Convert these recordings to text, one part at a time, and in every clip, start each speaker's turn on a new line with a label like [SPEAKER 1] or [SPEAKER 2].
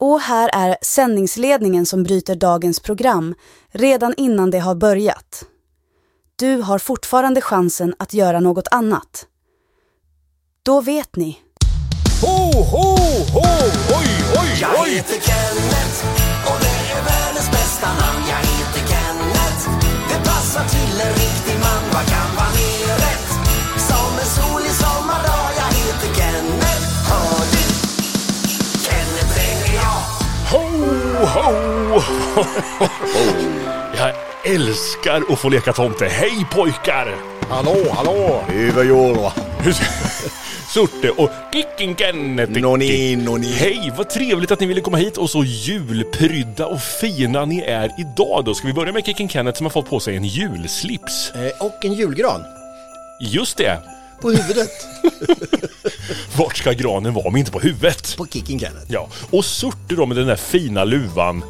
[SPEAKER 1] Och här är sändningsledningen som bryter dagens program redan innan det har börjat. Du har fortfarande chansen att göra något annat. Då vet ni.
[SPEAKER 2] Ho, ho, ho, oj, oj,
[SPEAKER 3] Jag
[SPEAKER 2] oj!
[SPEAKER 3] heter Kenneth och det är världens bästa namn Jag heter Kenneth Det passar till en riktig man Vad kan vara mer rätt? Som en solig sommardag Jag heter Kenneth, hör du? Kenneth ringer jag
[SPEAKER 2] Ho, ho, ho, ho, ho. Jag älskar att få leka tomte. Hej pojkar!
[SPEAKER 4] Hallå, hallå! Hyvöjuola.
[SPEAKER 2] Hur ser- Surte och Kickinken.
[SPEAKER 4] Noniin, noniin.
[SPEAKER 2] Hej, vad trevligt att ni ville komma hit och så julprydda och fina ni är idag då. Ska vi börja med Kicken Kenneth som har fått på sig en julslips?
[SPEAKER 4] Eh, och en julgran.
[SPEAKER 2] Just det!
[SPEAKER 4] På huvudet.
[SPEAKER 2] Vart ska granen vara om inte på huvudet?
[SPEAKER 4] på Kicking Kenneth.
[SPEAKER 2] Ja, och Surte då med den där fina luvan.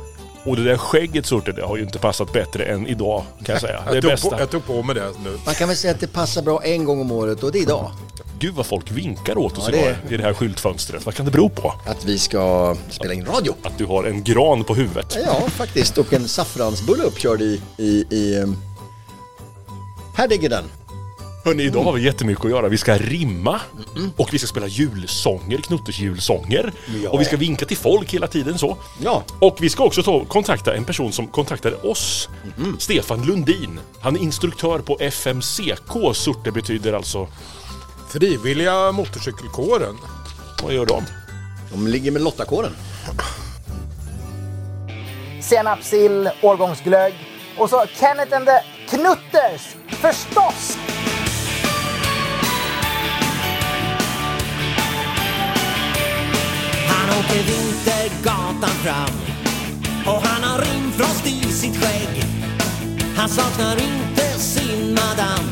[SPEAKER 2] Och det där skägget Surte, det har ju inte passat bättre än idag kan jag säga. Det är
[SPEAKER 5] Jag tog,
[SPEAKER 2] bästa.
[SPEAKER 5] på, jag tog på mig det nu.
[SPEAKER 4] Man kan väl säga att det passar bra en gång om året och det är idag.
[SPEAKER 2] Gud vad folk vinkar åt oss
[SPEAKER 4] Ja, det
[SPEAKER 2] idag
[SPEAKER 4] är-
[SPEAKER 2] i det här skyltfönstret. Vad kan det bero på?
[SPEAKER 4] Att vi ska spela in radio.
[SPEAKER 2] Att du har en gran på huvudet.
[SPEAKER 4] Ja, faktiskt. Och en saffransbulle uppkörd i... i, i ehm, här ligger den.
[SPEAKER 2] Hörni, idag har vi jättemycket att göra. Vi ska rimma och vi ska spela julsånger, Knuttes julsånger.
[SPEAKER 4] Ja.
[SPEAKER 2] Och vi ska vinka till folk hela tiden så.
[SPEAKER 4] Ja.
[SPEAKER 2] Och vi ska också ta, kontakta en person som kontaktade oss.
[SPEAKER 4] Mhm.
[SPEAKER 2] Stefan Lundin. Han är instruktör på FMCK. Surte betyder alltså...
[SPEAKER 5] Frivilliga motorcykelkåren.
[SPEAKER 2] Vad gör de?
[SPEAKER 4] De ligger med Lottakåren.
[SPEAKER 6] senapssill, årgångsglögg och så Kenneth and the Knutters, förstås!
[SPEAKER 3] Han åker Vintergatan fram och han har rimfrost i sitt skägg. Han saknar inte sin madam,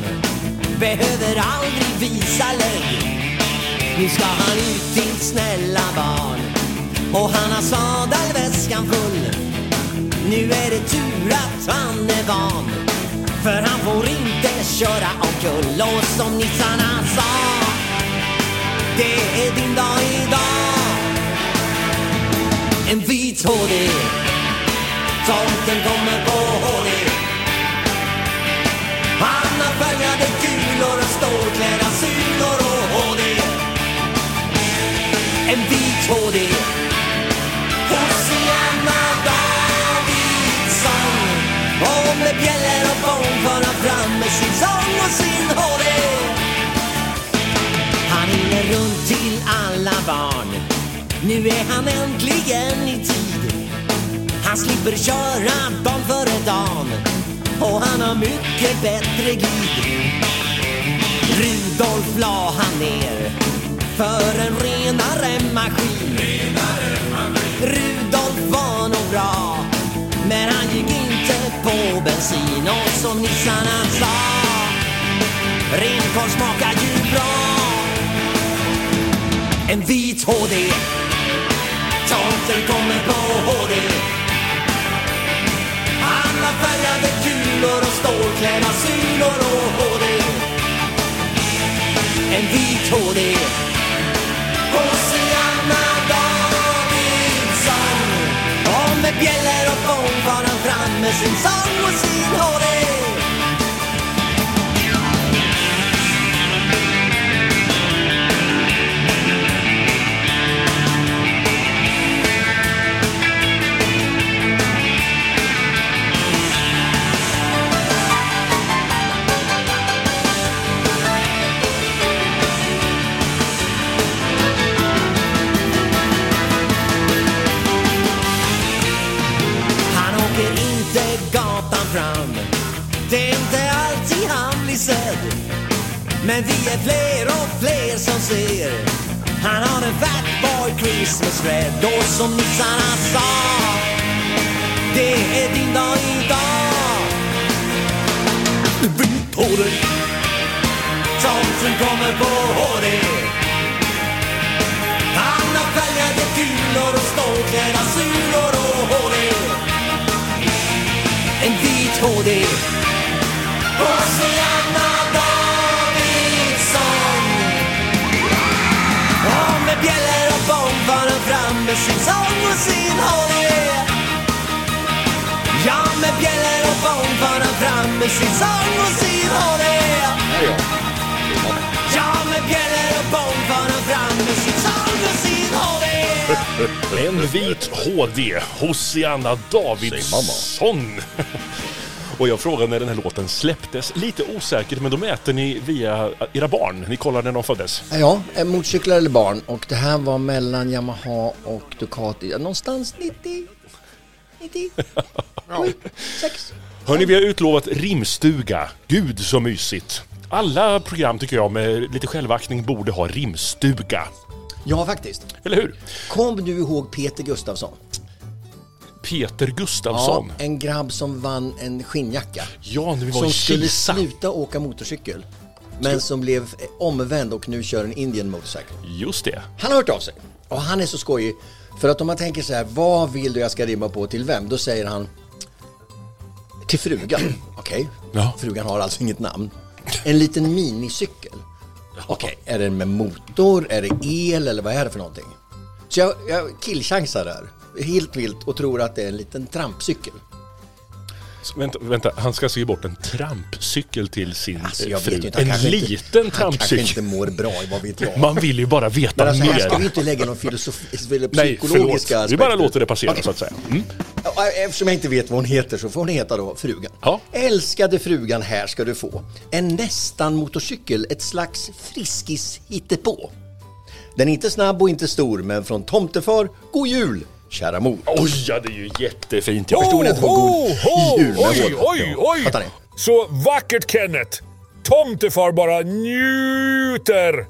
[SPEAKER 3] behöver aldrig visa lägg. Nu ska han ut till snälla barn och han har sadelväskan full. Nu är det tur att han är van, för han får inte köra omkull. Och som nissarna sa, det är din dag idag en vit HD Tomten kommer på HD Han har färgade kulor och stålklädda sulor och HD En vit HD Hosianna Davidsson Och med bjällor och bång för han fram med sin sång och sin HD han ringer runt till alla barn Nu är han äntligen i tid Han slipper köra barn före dagen Och han har mycket bättre glid Rudolf la han ner För en renare maskin Rudolf var nog bra Men han gick inte på bensin Och som nissarna sa Renkorv smakar ju bra en vit HD Tomten kommer på HD Han har färgade kulor och stålklädda synor och HD En vit HD Hosianna Davidsson Och med bjällor och bång var han fram med sin sång och sin HD Han åker inte gatan fram Det är inte alltid han blir sedd Men vi är fler och fler som ser Han har en fatboy Christmas red Och som nissarna sa Det är din dag idag Vit på dig Tomten kommer på HD han har färgade kulor och stålklädda sulor och HD En vit HD Hosianna Davidsson Och med bjällor och bomb var han fram med sin sång och sin HV Ja, med bjällor och bång far han fram med sin sång och sin HV
[SPEAKER 4] Här är jag.
[SPEAKER 3] Ja, med bjällor och bång far han fram med sin sång och sin HV
[SPEAKER 2] En vit HD, Hosianna Davidsson. Och jag frågade när den här låten släpptes. Lite osäkert, men då mäter ni via era barn. Ni kollar när de föddes.
[SPEAKER 4] Ja, eh, motorcyklar eller barn. Och det här var mellan Yamaha och Ducati. Ja, Någonstans 90... 90... Sju, sex.
[SPEAKER 2] Hörni, vi har utlovat rimstuga. Gud så mysigt. Alla program tycker jag med lite självaktning borde ha rimstuga.
[SPEAKER 4] Ja, faktiskt.
[SPEAKER 2] Eller hur?
[SPEAKER 4] Kom du ihåg Peter Gustafsson?
[SPEAKER 2] Peter Gustafsson. Ja,
[SPEAKER 4] en grabb som vann en skinnjacka.
[SPEAKER 2] när vi var i
[SPEAKER 4] Som skulle
[SPEAKER 2] Kisa.
[SPEAKER 4] sluta åka motorcykel. Men som blev eh, omvänd och nu kör en Indian motorcykel.
[SPEAKER 2] Just det.
[SPEAKER 4] Han har hört av sig. Och han är så skojig. För att om man tänker så här, vad vill du jag ska rimma på till vem? Då säger han till frugan. Okej,
[SPEAKER 2] Ja.
[SPEAKER 4] frugan har alltså inget namn. En liten minicykel. Okej, är den med motor? Är det el? Eller vad är det för någonting? Så jag, jag killchansar där. Helt vilt och tror att det är en liten trampcykel.
[SPEAKER 2] Så, Vänta, vänta, han ska se bort en trampcykel till sin
[SPEAKER 4] Alltså,
[SPEAKER 2] eh,
[SPEAKER 4] jag
[SPEAKER 2] fru.
[SPEAKER 4] vet ju inte, han
[SPEAKER 2] en
[SPEAKER 4] kanske inte-
[SPEAKER 2] liten
[SPEAKER 4] Han kanske inte
[SPEAKER 2] trampcykel.
[SPEAKER 4] mår bra, vad vet jag.
[SPEAKER 2] Man vill ju bara veta
[SPEAKER 4] Men alltså, här ska vi
[SPEAKER 2] mer.
[SPEAKER 4] inte lägga någon filosofi eller
[SPEAKER 2] Nej, förlåt.
[SPEAKER 4] psykologiska
[SPEAKER 2] Vi bara låter det passera
[SPEAKER 4] Okej.
[SPEAKER 2] så att säga. Mm.
[SPEAKER 4] Ja, eh, Eftersom jag inte vet vad hon heter så får hon heta då frugan.
[SPEAKER 2] Ja.
[SPEAKER 4] Älskade frugan, här ska du få. En nästan motorcykel, ett slags friskis hittepå. Den är inte snabb och inte stor, men från tomtefar, god jul, kära mor.
[SPEAKER 2] Oj, ja, det är ju jättefint. Jag förstod
[SPEAKER 4] det var god jul med
[SPEAKER 7] Oj,
[SPEAKER 4] vår-
[SPEAKER 7] oj, oj!
[SPEAKER 4] Fattar ni?
[SPEAKER 7] Så vackert Kenneth! Tomtefar bara njuter!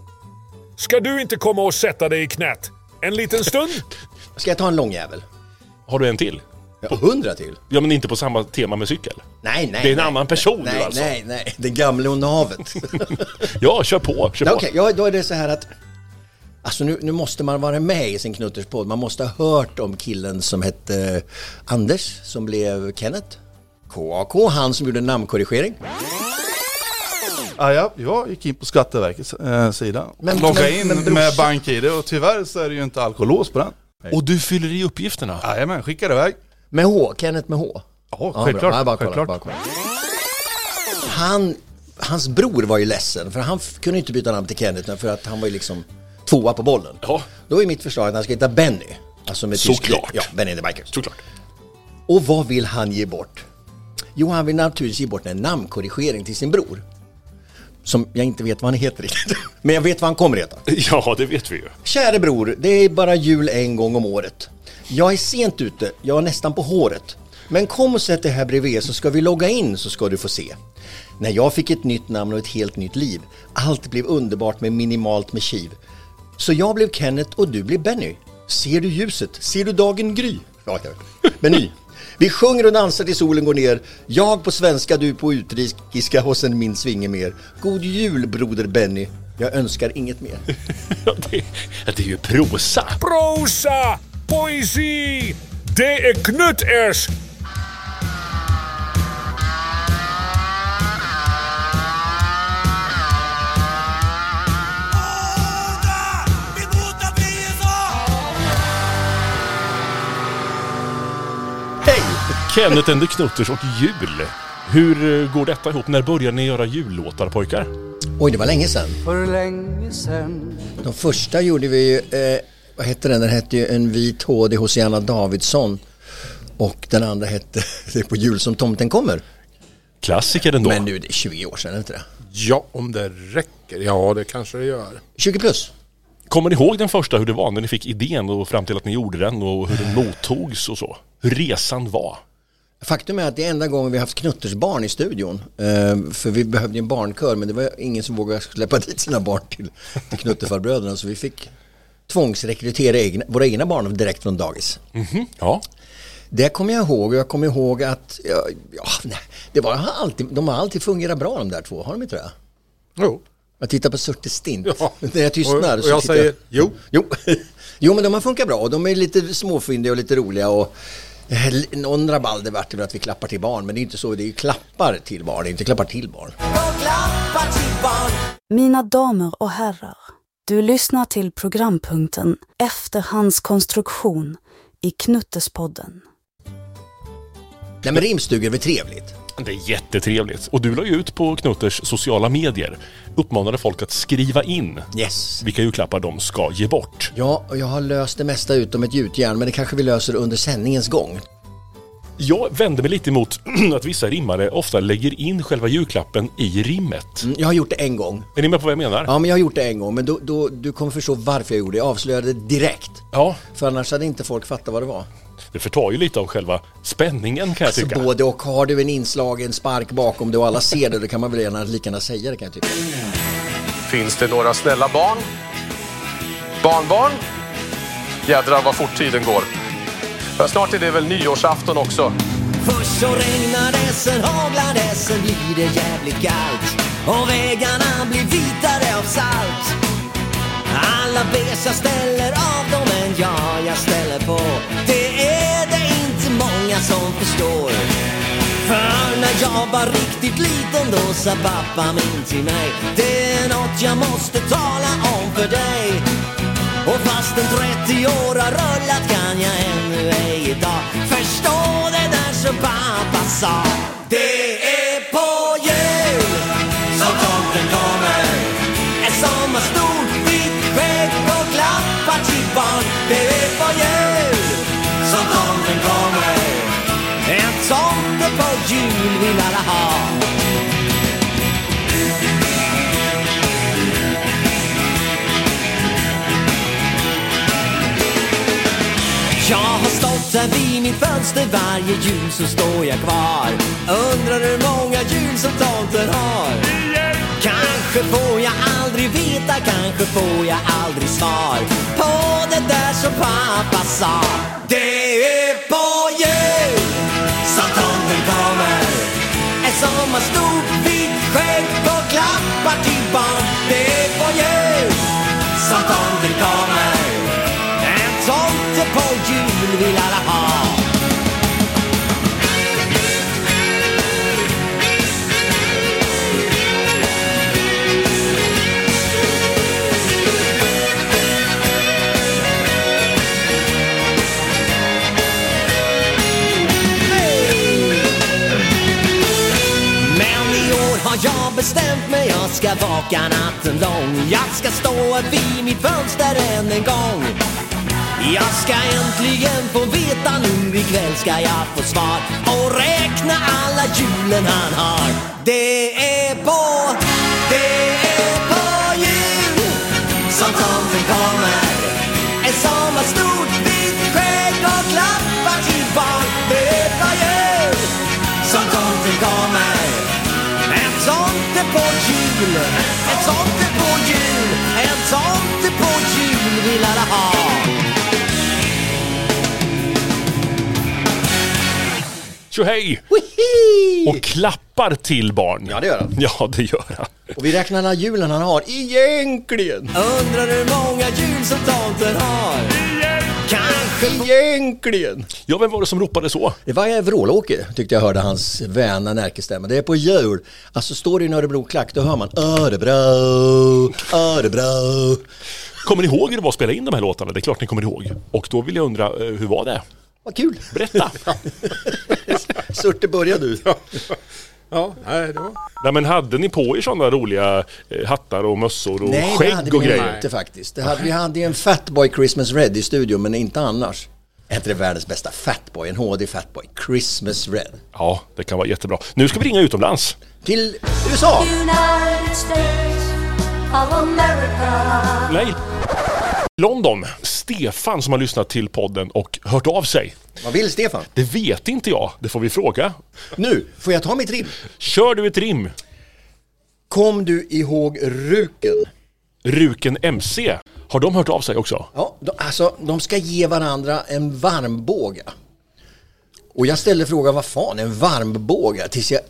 [SPEAKER 7] Ska du inte komma och sätta dig i knät? En liten stund?
[SPEAKER 4] Ska jag ta en lång jävel?
[SPEAKER 2] Har du en till?
[SPEAKER 4] Ja, Och hundra till?
[SPEAKER 2] Ja, men inte på samma tema med cykel.
[SPEAKER 4] Nej, nej.
[SPEAKER 2] Det är en
[SPEAKER 4] nej,
[SPEAKER 2] annan person
[SPEAKER 4] nej,
[SPEAKER 2] nu alltså.
[SPEAKER 4] Nej, nej, den gamle och navet.
[SPEAKER 2] Ja, kör på. Kör
[SPEAKER 4] Ja,
[SPEAKER 2] på.
[SPEAKER 4] Okej, ja, då är det så här att Alltså nu, nu måste man vara med i sin knutterspodd. Man måste ha hört om killen som hette eh, Anders som blev Kenneth. KAK, han som gjorde namnkorrigering.
[SPEAKER 8] Ja, Ah, ja, jag gick in på Skatteverkets eh, sida.
[SPEAKER 4] Men-
[SPEAKER 8] Loggade
[SPEAKER 4] men-
[SPEAKER 8] in
[SPEAKER 4] men brorsa-
[SPEAKER 8] med BankID och tyvärr så är det ju inte alkoholås på den.
[SPEAKER 2] Och du fyller i uppgifterna.
[SPEAKER 8] Jajamän, skickade iväg.
[SPEAKER 4] Med H, Kenneth med H.
[SPEAKER 8] Ja,
[SPEAKER 4] bra.
[SPEAKER 8] självklart,
[SPEAKER 4] Ja, bara kolla,
[SPEAKER 8] självklart.
[SPEAKER 4] bara kolla. Han, hans bror var ju ledsen för han f- kunde inte byta namn till Kenneth för att han var ju liksom tvåa på bollen.
[SPEAKER 2] Ja.
[SPEAKER 4] Då är mitt förslag att han ska heta Benny. Alltså med tysk-
[SPEAKER 2] Såklart.
[SPEAKER 4] Ja, Benny the Biker.
[SPEAKER 2] Såklart.
[SPEAKER 4] Och vad vill han ge bort? Jo, han vill naturligtvis ge bort en namnkorrigering till sin bror. Som jag inte vet vad han heter riktigt. Men jag vet vad han kommer heta.
[SPEAKER 2] Ja, det vet vi ju.
[SPEAKER 4] Käre bror, det är bara jul en gång om året. Jag är sent ute, jag är nästan på håret. Men kom och sätt dig här bredvid så ska vi logga in så ska du få se. När jag fick ett nytt namn och ett helt nytt liv. Allt blev underbart med minimalt med kiv. Så jag blev Kenneth och du blev Benny. Ser du ljuset? Ser du dagen gry? Ja, ja. Benny. Vi sjunger och dansar till solen går ner. Jag på svenska, du på utrikiska och sen min svinge mer. God jul broder Benny. Jag önskar inget mer.
[SPEAKER 2] Ja, det, ja, det är ju prosa.
[SPEAKER 7] Prosa! Poesi! Det är Knut-ers!
[SPEAKER 4] Hej!
[SPEAKER 2] Kenneth and the Knutters och jul. Hur eh, går detta ihop? När började ni göra jullåtar pojkar?
[SPEAKER 4] Oj, det var länge sedan.
[SPEAKER 6] För länge sen
[SPEAKER 4] De första gjorde vi ju, eh, vad hette den? Den hette ju En vit HD hos Janna Davidsson. Och den andra hette Det är på jul som tomten kommer.
[SPEAKER 2] Klassiker ändå.
[SPEAKER 4] Men nu är det 20 år sedan, är det inte det?
[SPEAKER 5] Ja, om det räcker. Ja, det kanske det gör.
[SPEAKER 4] 20 plus.
[SPEAKER 2] Kommer ni ihåg den första, hur det var när ni fick idén och fram till att ni gjorde den och hur den mottogs och så? Hur resan var?
[SPEAKER 4] Faktum är att det är enda gången vi har haft knuttersbarn i studion. Eh, för vi behövde ju en barnkör, men det var ingen som vågade släppa dit sina barn till, till knuttefarbröderna. Så vi fick tvångsrekrytera egna, våra egna barn direkt från dagis.
[SPEAKER 2] Ja.
[SPEAKER 4] Det kommer jag ihåg och jag kommer ihåg att, ja, ja, nej, det var alltid, de har alltid fungerat bra de där två, har de inte det?
[SPEAKER 5] Jo.
[SPEAKER 4] Jag tittar på Surte Stint.
[SPEAKER 5] Ja.
[SPEAKER 4] När jag tystnar
[SPEAKER 5] Och, och
[SPEAKER 4] så
[SPEAKER 5] jag
[SPEAKER 4] tittar
[SPEAKER 5] säger jo.
[SPEAKER 4] Jo. jo, men de har funkat bra och de är lite småfyndiga och lite roliga och eh, någon rabalder vart det väl att vi klappar till barn, men det är inte så, det är ju klappar till barn, det är inte klappar till barn.
[SPEAKER 1] Mina damer och herrar, du lyssnar till programpunkten Efterhandskonstruktion i Knuttespodden.
[SPEAKER 4] Nej men rimstugor är väl trevligt?
[SPEAKER 2] Det är jättetrevligt. Och du la ju ut på Knutters sociala medier. Uppmanade folk att skriva in
[SPEAKER 4] Yes.
[SPEAKER 2] vilka julklappar de ska ge bort.
[SPEAKER 4] Ja, och jag har löst det mesta utom ett gjutjärn, men det kanske vi löser under sändningens gång.
[SPEAKER 2] Jag vänder mig lite emot att vissa rimmare ofta lägger in själva julklappen i rimmet.
[SPEAKER 4] Mm, Jag har gjort det en gång.
[SPEAKER 2] Är ni med på vad jag menar?
[SPEAKER 4] Ja, men jag har gjort det en gång, men då, då, du kommer förstå varför jag gjorde det. Jag avslöjade det direkt.
[SPEAKER 2] Ja,
[SPEAKER 4] För annars hade inte folk fattat vad det var.
[SPEAKER 2] det förtar ju lite av själva spänningen kan jag
[SPEAKER 4] Så
[SPEAKER 2] tycka.
[SPEAKER 4] Alltså, både och. Har du en inslagen spark bakom dig och alla ser det, då kan man väl gärna lika gärna säga det kan jag tycka.
[SPEAKER 9] Finns det några snälla barn? Barnbarn? Jädrar vad fort tiden går. Ja, snart är det väl nyårsafton också.
[SPEAKER 3] Först så regnar det, sen haglar det, sen blir det jävligt kallt Och vägarna blir vitare av salt Alla bes jag ställer av dem, men ja, jag ställer på Det är det inte många som förstår För när jag var riktigt liten då sa pappa min till mig Det är något jag måste tala om för dig och fastän 30 år har rullat kan jag ännu ej idag förstå det där som pappa sa. Det är på jul som tomten kommer. En sommarstol, vitt skägg och klappar till barn. Det är på jul som tomten kommer. En tomte på jul vill alla ha. Jag har stått här vid mitt fönster varje jul så står jag kvar Undrar hur många jul som tomten har Kanske får jag aldrig veta, kanske får jag aldrig svar På det där som pappa sa Det är på jul som tomten kommer En sommarstol, vitt skägg och klappar till barn Det är på jul som tomten kommer en tomte på jul vill alla ha Men i år har jag bestämt mig, jag ska vaka natten lång Jag ska stå här vid mitt fönster än en gång jag ska äntligen få veta nu ikväll ska jag få svar och räkna alla julen han har. Det är på, det är på jul som tomten kommer. En sommarstol, vitt skägg och klappar till barn. Det är på jul som tomten kommer. En tomte på jul, en tomte på jul, en tomte på jul vill alla ha.
[SPEAKER 2] Tjohej! Och klappar till barn.
[SPEAKER 4] Ja, det gör han.
[SPEAKER 2] Ja, det gör han.
[SPEAKER 4] Och vi räknar alla julen han har, egentligen!
[SPEAKER 3] Undrar hur många jul som tomten har Kanske
[SPEAKER 4] Egentligen!
[SPEAKER 2] Ja, vem var det som ropade så?
[SPEAKER 4] Det var Vrålåke, tyckte jag hörde hans väna närkestämma. Det är på jul. Alltså står det en Örebro-klack, då hör man Örebro, Örebro.
[SPEAKER 2] Kommer ni ihåg hur det var att spela in de här låtarna? Det är klart ni kommer ihåg. Och då vill jag undra, eh, hur var det?
[SPEAKER 4] Vad kul!
[SPEAKER 2] Berätta!
[SPEAKER 4] Surte, börja du.
[SPEAKER 5] Ja, nej, det var...
[SPEAKER 2] Nej, men hade ni på er sådana roliga eh, hattar och mössor och
[SPEAKER 4] Nej, det hade
[SPEAKER 2] skägg och
[SPEAKER 4] vi
[SPEAKER 2] grejer?
[SPEAKER 4] inte faktiskt. Det hade, vi hade ju en Fatboy Christmas Red i studion, men inte annars. Är inte det världens bästa Fatboy? En HD Fatboy Christmas Red.
[SPEAKER 2] Ja, det kan vara jättebra. Nu ska vi ringa utomlands.
[SPEAKER 4] Till USA!
[SPEAKER 10] United States of America.
[SPEAKER 2] Nej. London. Stefan som har lyssnat till podden och hört av sig.
[SPEAKER 4] Vad vill Stefan?
[SPEAKER 2] Det vet inte jag, det får vi fråga.
[SPEAKER 4] Nu, får jag ta mitt rim?
[SPEAKER 2] Kör du ett rim?
[SPEAKER 4] Kom du ihåg Ruken?
[SPEAKER 2] Ruken MC. Har de hört av sig också?
[SPEAKER 4] Ja, de, alltså de ska ge varandra en varmbåga. Och jag ställde frågan, vad fan en varmbåga? Tills jag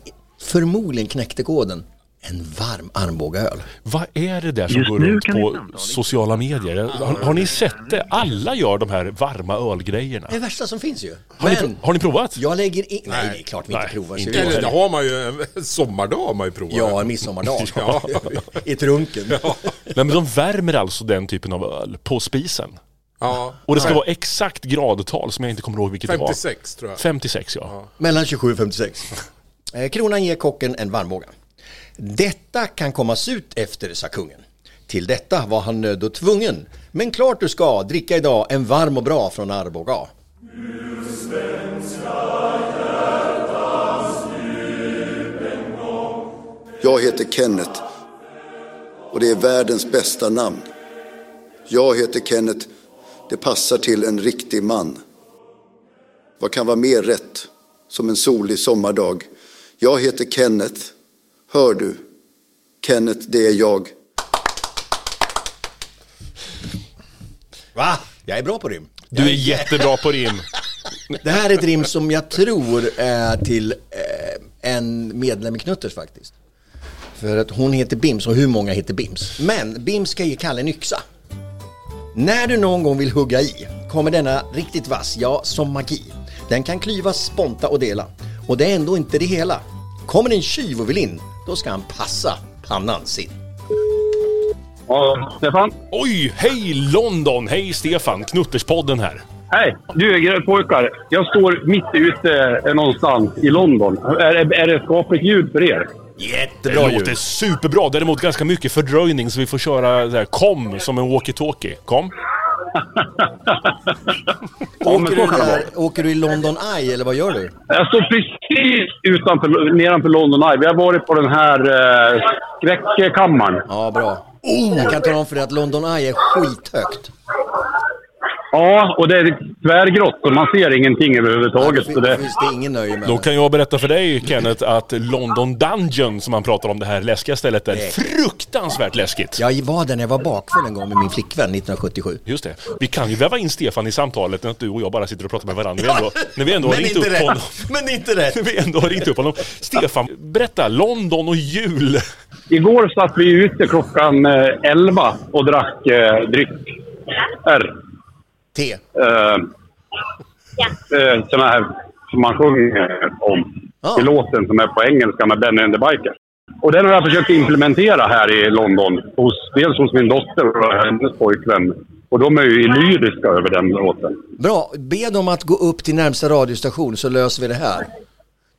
[SPEAKER 4] förmodligen knäckte koden. En varm armbågaöl.
[SPEAKER 2] Vad är det där som går runt på sociala medier? Har, har ni sett det? Alla gör de här varma ölgrejerna.
[SPEAKER 4] Det är det värsta som finns ju.
[SPEAKER 2] Har ni, pro-
[SPEAKER 4] Men
[SPEAKER 2] har ni provat?
[SPEAKER 4] jag lägger in... Nej, det är klart vi inte
[SPEAKER 2] Nej,
[SPEAKER 4] provar.
[SPEAKER 2] inte
[SPEAKER 4] så vi-
[SPEAKER 5] Eller det har man ju, en sommardag har man ju provat.
[SPEAKER 4] Ja, en midsommardag.
[SPEAKER 5] Ja.
[SPEAKER 4] I trunken.
[SPEAKER 2] Nej, men de värmer alltså den typen av öl på spisen.
[SPEAKER 5] Ja.
[SPEAKER 2] Och det ska
[SPEAKER 5] Nej.
[SPEAKER 2] vara exakt gradtal som jag inte kommer ihåg vilket det var.
[SPEAKER 5] 56 tror jag.
[SPEAKER 2] 56 ja.
[SPEAKER 4] Mellan 27 och 56. Eh, Kronan ger kocken en varmbåga. Detta kan komma surt efter, sa kungen. Till detta var han nödd och tvungen. Men klart du ska dricka idag en varm och bra från Arboga.
[SPEAKER 11] Jag heter Kenneth. Och det är världens bästa namn. Jag heter Kenneth. Det passar till en riktig man. Vad kan vara mer rätt? Som en solig sommardag. Jag heter Kenneth. Hör du? Kenneth, det är jag.
[SPEAKER 4] Va? Jag är bra på rim.
[SPEAKER 2] Du är jättebra på rim.
[SPEAKER 4] Det här är ett rim som jag tror är till eh, en medlem i Knutters faktiskt. För att hon heter Bims och hur många heter Bims? Men Bims ska ge Kalle en yxa. När du någon gång vill hugga i kommer denna riktigt vass, ja som magi. Den kan klyva, sponta och dela. Och det är ändå inte det hela. Kommer en tjuv och vill in, då ska han passa pannan sin.
[SPEAKER 2] Ja, Stefan. Oj, hej London! Hej Stefan! Knutterspodden här.
[SPEAKER 12] Hej! Du, grön pojkar. Jag står mitt ute eh, någonstans i London. Är, det- är det skapligt ljud för er?
[SPEAKER 2] Det
[SPEAKER 12] Jättebra
[SPEAKER 2] låter superbra, däremot ganska mycket fördröjning så vi får köra så här, kom som en walkie-talkie. Kom.
[SPEAKER 4] Åker du, där, åker du i London Eye eller vad gör du?
[SPEAKER 12] Jag står precis utanför, nedanför London Eye. Vi har varit på den här eh, skräckkammaren.
[SPEAKER 4] Ja, bra. Oh, jag kan tala om för dig att London Eye är skithögt.
[SPEAKER 12] Ja, och det är tvärgrått och man ser ingenting överhuvudtaget. Så det...
[SPEAKER 4] Finns det ingen nöje med
[SPEAKER 2] Då kan jag berätta för dig Kenneth att London Dungeon som han pratar om, det här läskiga stället, är fruktansvärt läskigt.
[SPEAKER 4] Jag var där när jag var bakfull en gång med min flickvän 1977.
[SPEAKER 2] Just det. Vi kan ju väva in Stefan i samtalet när att du och jag bara sitter och pratar med varandra. Vi ändå, när vi ändå har
[SPEAKER 4] Men
[SPEAKER 2] ringt
[SPEAKER 4] inte
[SPEAKER 2] upp
[SPEAKER 4] rätt.
[SPEAKER 2] honom.
[SPEAKER 4] Men inte rätt.
[SPEAKER 2] När vi ändå har ringt upp honom. Stefan, berätta. London och jul.
[SPEAKER 12] Igår satt vi ute klockan eh, 11 och drack eh, dryck. R.
[SPEAKER 4] Te.
[SPEAKER 12] eh, såna här som man sjunger om i låten som är på engelska med Benny and the Biker. Och den har jag försökt implementera här i London. Hos, dels hos min dotter och hennes pojkvän. Och de är ju lyriska över den låten.
[SPEAKER 4] Bra, be dem att gå upp till närmsta radiostation så löser vi det här.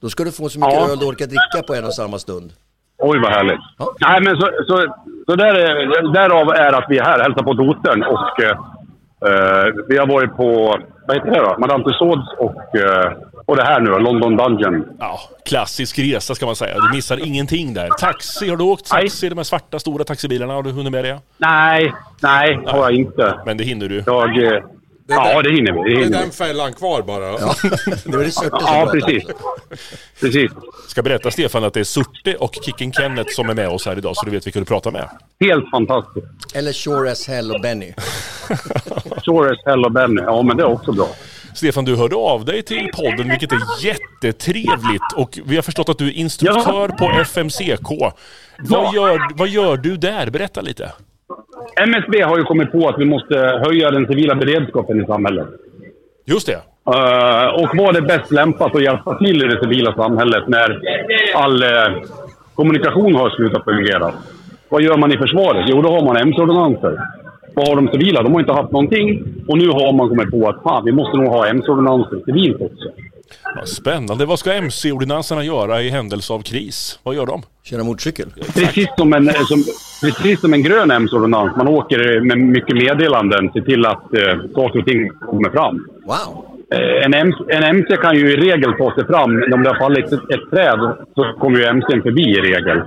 [SPEAKER 4] Då ska du få så mycket
[SPEAKER 12] Ja.
[SPEAKER 4] öl du orkar dricka på en och samma stund.
[SPEAKER 12] Oj, vad härligt. Nej, men så, så, så där är, därav är att vi är här och hälsar på dottern. Och, eh, vi har varit på, vad heter det då? Madame Tussauds och, eh, och det här nu då, London Dungeon.
[SPEAKER 2] Ja, klassisk resa ska man säga. Du missar ingenting där. Taxi, har du åkt taxi? De här svarta stora taxibilarna, har du hunnit med det?
[SPEAKER 12] Nej, nej, har jag inte.
[SPEAKER 2] Men det hinner du.
[SPEAKER 12] Jag, eh, ja, det hinner vi. Det
[SPEAKER 5] Det är
[SPEAKER 12] hinner vi.
[SPEAKER 5] den fällan kvar bara.
[SPEAKER 12] Ja, precis. precis.
[SPEAKER 2] Ska berätta Stefan att det är Surte och Kicken Kenneth som är med oss här idag så du vet vilka du pratar med.
[SPEAKER 12] Helt fantastiskt.
[SPEAKER 4] Eller sure as hell och Benny.
[SPEAKER 12] Sure as hell och Benny. Ja, men det är också bra.
[SPEAKER 2] Stefan, du hörde av dig till podden, vilket är jättetrevligt. Och vi har förstått att du är instruktör på FMCK. Vad, gör, vad gör du där? Berätta lite.
[SPEAKER 12] MSB har ju kommit på att vi måste höja den civila beredskapen i samhället. Eh,
[SPEAKER 2] Just det.
[SPEAKER 12] och vad är bäst lämpat att hjälpa till i det civila samhället när all eh, kommunikation har slutat fungera? Vad gör man i försvaret? Jo, då har man MC-ordonnanser. Vad har de civila? De har inte haft någonting. Och nu har man kommit på att fan, vi måste nog ha MC-ordonnanser civilt också.
[SPEAKER 2] Vad spännande. Vad ska MC-ordinanserna göra i händelse av kris? Vad gör de?
[SPEAKER 4] Köra motorcykel.
[SPEAKER 12] Precis som en, som, precis som en grön MC-ordonnans. Man åker med mycket meddelanden, ser till att eh, saker och ting kommer fram.
[SPEAKER 4] Wow!
[SPEAKER 12] Eh, en, MC, en MC kan ju i regel ta sig fram. Om det har fallit ett, ett träd så kommer ju MCn förbi i regel.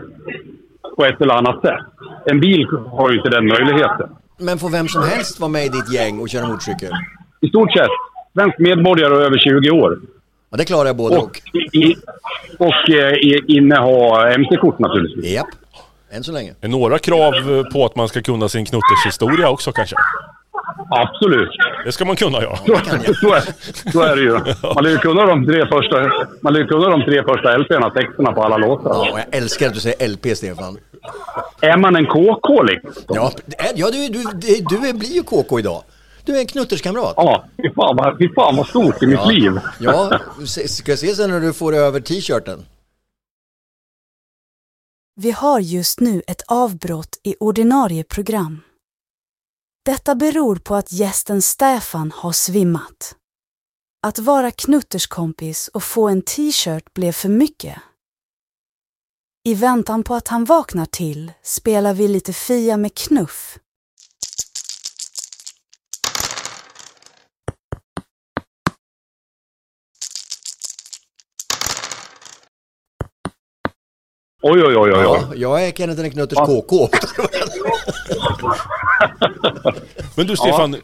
[SPEAKER 12] På ett eller annat sätt. En bil har ju inte den möjligheten.
[SPEAKER 4] Men får vem som helst vara med i ditt gäng och köra motorcykel?
[SPEAKER 12] I stort sett, svensk medborgare och över 20 år.
[SPEAKER 4] Ja, det klarar jag både och.
[SPEAKER 12] I, i, och eh, i- inneha MC-kort naturligtvis.
[SPEAKER 4] Japp. Än så länge.
[SPEAKER 2] Är Några krav eh, på att man ska kunna sin knuttershistoria också kanske?
[SPEAKER 12] Absolut.
[SPEAKER 2] Det ska man kunna ja.
[SPEAKER 12] Så är, så är det ju. Man lär ju kunna de tre första, man lär ju kunna de tre första LP-erna, texterna på alla låtar.
[SPEAKER 4] Ja, och jag älskar att du säger LP, Stefan.
[SPEAKER 12] Är man en KK liksom?
[SPEAKER 4] Ja, ja du, du, du är- blir ju KK idag. Du är en knutterskamrat.
[SPEAKER 12] Ja, fy fan vad, fy fan vad stort i mitt
[SPEAKER 4] Ja.
[SPEAKER 12] liv.
[SPEAKER 4] Ja, se- ska jag se sen när du får över t-shirten?
[SPEAKER 1] Vi har just nu ett avbrott i ordinarie program. Detta beror på att gästen Stefan har svimmat. Att vara Knutters kompis och få en t-shirt blev för mycket. I väntan på att han vaknar till spelar vi lite Fia med knuff.
[SPEAKER 12] Oj, oj, oj, oj. oj.
[SPEAKER 4] Ja, jag är Kenneth den Knutters KK.
[SPEAKER 2] Men du Stefan,